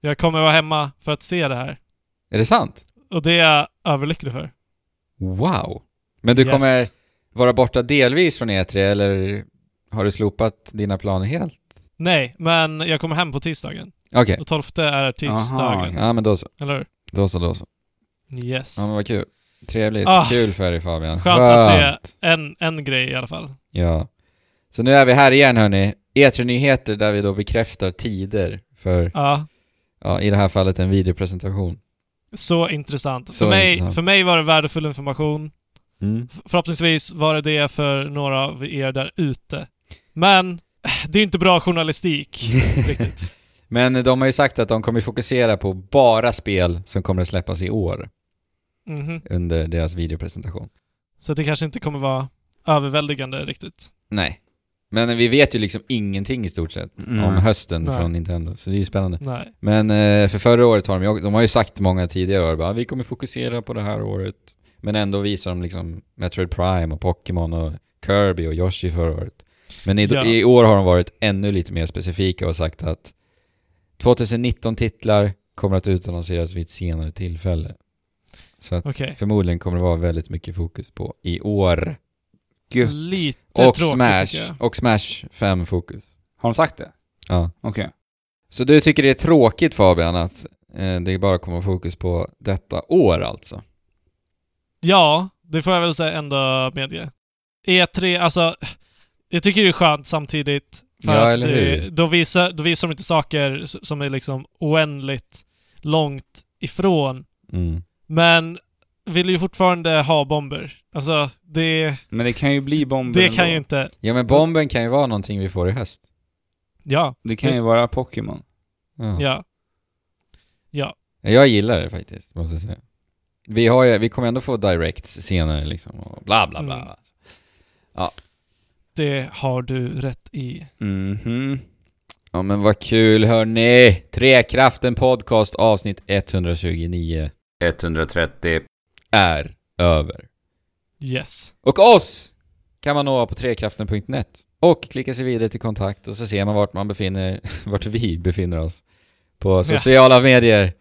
[SPEAKER 3] Jag kommer vara hemma för att se det här.
[SPEAKER 2] är det sant?
[SPEAKER 3] Och det är jag överlycklig för.
[SPEAKER 2] Wow! Men du
[SPEAKER 3] Yes.
[SPEAKER 2] kommer vara borta delvis från E3 eller har du slopat dina planer helt?
[SPEAKER 3] Nej, men jag kommer hem på tisdagen.
[SPEAKER 2] Okej.
[SPEAKER 3] Och 12 är tisdagen.
[SPEAKER 1] Aha.
[SPEAKER 2] Ja men då så,
[SPEAKER 3] Eller hur?
[SPEAKER 2] då så, då så.
[SPEAKER 3] Yes.
[SPEAKER 2] Ja men vad kul. Trevligt.
[SPEAKER 3] Ah.
[SPEAKER 2] Kul för dig Fabian.
[SPEAKER 3] Skönt att se en, en grej i alla fall.
[SPEAKER 2] Ja. Så nu är vi här igen hörni. E3 Nyheter där vi då bekräftar tider för,
[SPEAKER 3] Ja,
[SPEAKER 2] ja, i det här fallet en videopresentation.
[SPEAKER 3] så intressant.
[SPEAKER 2] Så
[SPEAKER 3] för, mig,
[SPEAKER 2] intressant.
[SPEAKER 3] för mig var det värdefull information. F- Förhoppningsvis var det det för några av er där ute. Men eh, det är ju inte bra journalistik riktigt.
[SPEAKER 2] Men de har ju sagt att de kommer fokusera på bara spel som kommer att släppas i år
[SPEAKER 3] Mhm.
[SPEAKER 2] under deras videopresentation.
[SPEAKER 3] Så det kanske inte kommer vara överväldigande riktigt.
[SPEAKER 2] Nej. Men vi vet ju liksom ingenting i stort sett
[SPEAKER 1] Mm.
[SPEAKER 2] om hösten
[SPEAKER 3] Nej.
[SPEAKER 2] från Nintendo, så det är ju spännande.
[SPEAKER 3] Nej.
[SPEAKER 2] Men eh, för förra året har de, ju- de har ju sagt många tidigare år bara, vi kommer fokusera på det här året. Men ändå visar de liksom Metroid Prime och Pokémon och Kirby och Yoshi förra året. Men i,
[SPEAKER 3] Ja.
[SPEAKER 2] i år har de varit ännu lite mer specifika och sagt att 2019-titlar kommer att utannonseras vid ett senare tillfälle. Så att
[SPEAKER 3] Okej.
[SPEAKER 2] förmodligen kommer det vara väldigt mycket fokus på i år.
[SPEAKER 1] Gud.
[SPEAKER 3] Lite
[SPEAKER 2] Och
[SPEAKER 3] tråkigt tycker
[SPEAKER 2] Smash,
[SPEAKER 3] jag.
[SPEAKER 2] och Smash 5 fokus.
[SPEAKER 1] Har de sagt det?
[SPEAKER 2] Ja.
[SPEAKER 1] Okej.
[SPEAKER 2] Så du tycker det är tråkigt Fabian att eh, det bara kommer fokus på detta år alltså?
[SPEAKER 3] Ja, det får jag väl säga ändå medge. E3, alltså... Jag tycker det är skönt samtidigt. För
[SPEAKER 2] Ja,
[SPEAKER 3] att
[SPEAKER 2] eller
[SPEAKER 3] det,
[SPEAKER 2] hur?
[SPEAKER 3] då, visar, då visar de inte saker s- som är liksom oändligt långt ifrån.
[SPEAKER 2] Mm.
[SPEAKER 3] Men vill ju fortfarande ha bomber. Alltså, det,
[SPEAKER 1] Men det kan ju bli bomber
[SPEAKER 3] det
[SPEAKER 1] ändå.
[SPEAKER 3] kan ju inte...
[SPEAKER 2] Ja men bomben kan ju vara någonting vi får i höst.
[SPEAKER 3] Ja,
[SPEAKER 1] Det kan ju
[SPEAKER 3] Visst.
[SPEAKER 1] vara Pokémon.
[SPEAKER 2] Ja.
[SPEAKER 3] ja.
[SPEAKER 2] Jag gillar det faktiskt, måste jag säga. Vi, har ju, vi kommer ändå få directs senare liksom och bla bla bla.
[SPEAKER 3] Mm. Det har du rätt i.
[SPEAKER 2] Mm-hmm.
[SPEAKER 1] Mhm.
[SPEAKER 2] Ja men vad kul hörni! Trekraften podcast avsnitt 129 130 är över.
[SPEAKER 3] Yes.
[SPEAKER 2] Och oss kan man nå på trekraften.net och klicka sig vidare till kontakt och så ser man vart man befinner, vart vi befinner oss på sociala medier.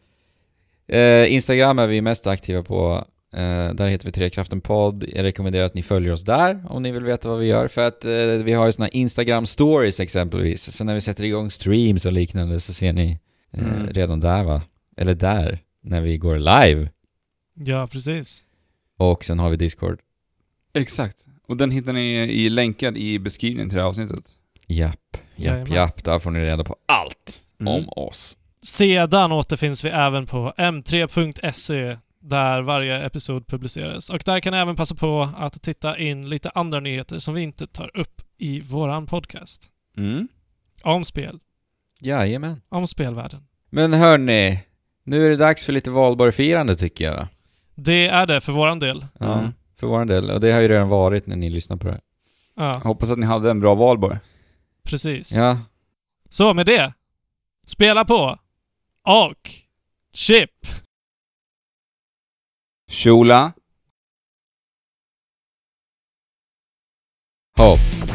[SPEAKER 2] Eh, Instagram är vi mest aktiva på. Eh, där heter vi Trekraften podd. Jag rekommenderar att ni följer oss där om ni vill veta vad vi gör. För att eh, vi har ju såna Instagram stories exempelvis. Så när vi sätter igång streams och liknande så ser ni eh,
[SPEAKER 1] Mm.
[SPEAKER 2] redan där va? Eller där, när vi går live.
[SPEAKER 3] Ja, precis.
[SPEAKER 2] Och sen har vi Discord.
[SPEAKER 1] Exakt. Och den hittar ni i länkad i beskrivningen till det här avsnittet.
[SPEAKER 2] Japp, japp,
[SPEAKER 3] Jajamän.
[SPEAKER 2] japp. Där får ni reda på allt.
[SPEAKER 1] Mm.
[SPEAKER 2] om oss.
[SPEAKER 3] Sedan återfinns vi även på m3.se där varje episod publiceras. Och där kan ni även passa på att titta in lite andra nyheter som vi inte tar upp i våran podcast.
[SPEAKER 1] Mm.
[SPEAKER 3] Om spel.
[SPEAKER 2] Jajamän.
[SPEAKER 3] Om spelvärlden.
[SPEAKER 2] Men hörni, nu är det dags för lite valborgfirande tycker jag. va?
[SPEAKER 3] Det är det för våran del.
[SPEAKER 2] Ja,
[SPEAKER 1] Mm.
[SPEAKER 2] för vår del. Och det har ju redan varit när ni lyssnar på det här.
[SPEAKER 3] Ja,
[SPEAKER 1] Hoppas att ni hade en bra valborg.
[SPEAKER 3] precis.
[SPEAKER 2] Ja,
[SPEAKER 3] Så med det. Spela på. Och. Chip.
[SPEAKER 1] Shula.
[SPEAKER 2] Hope.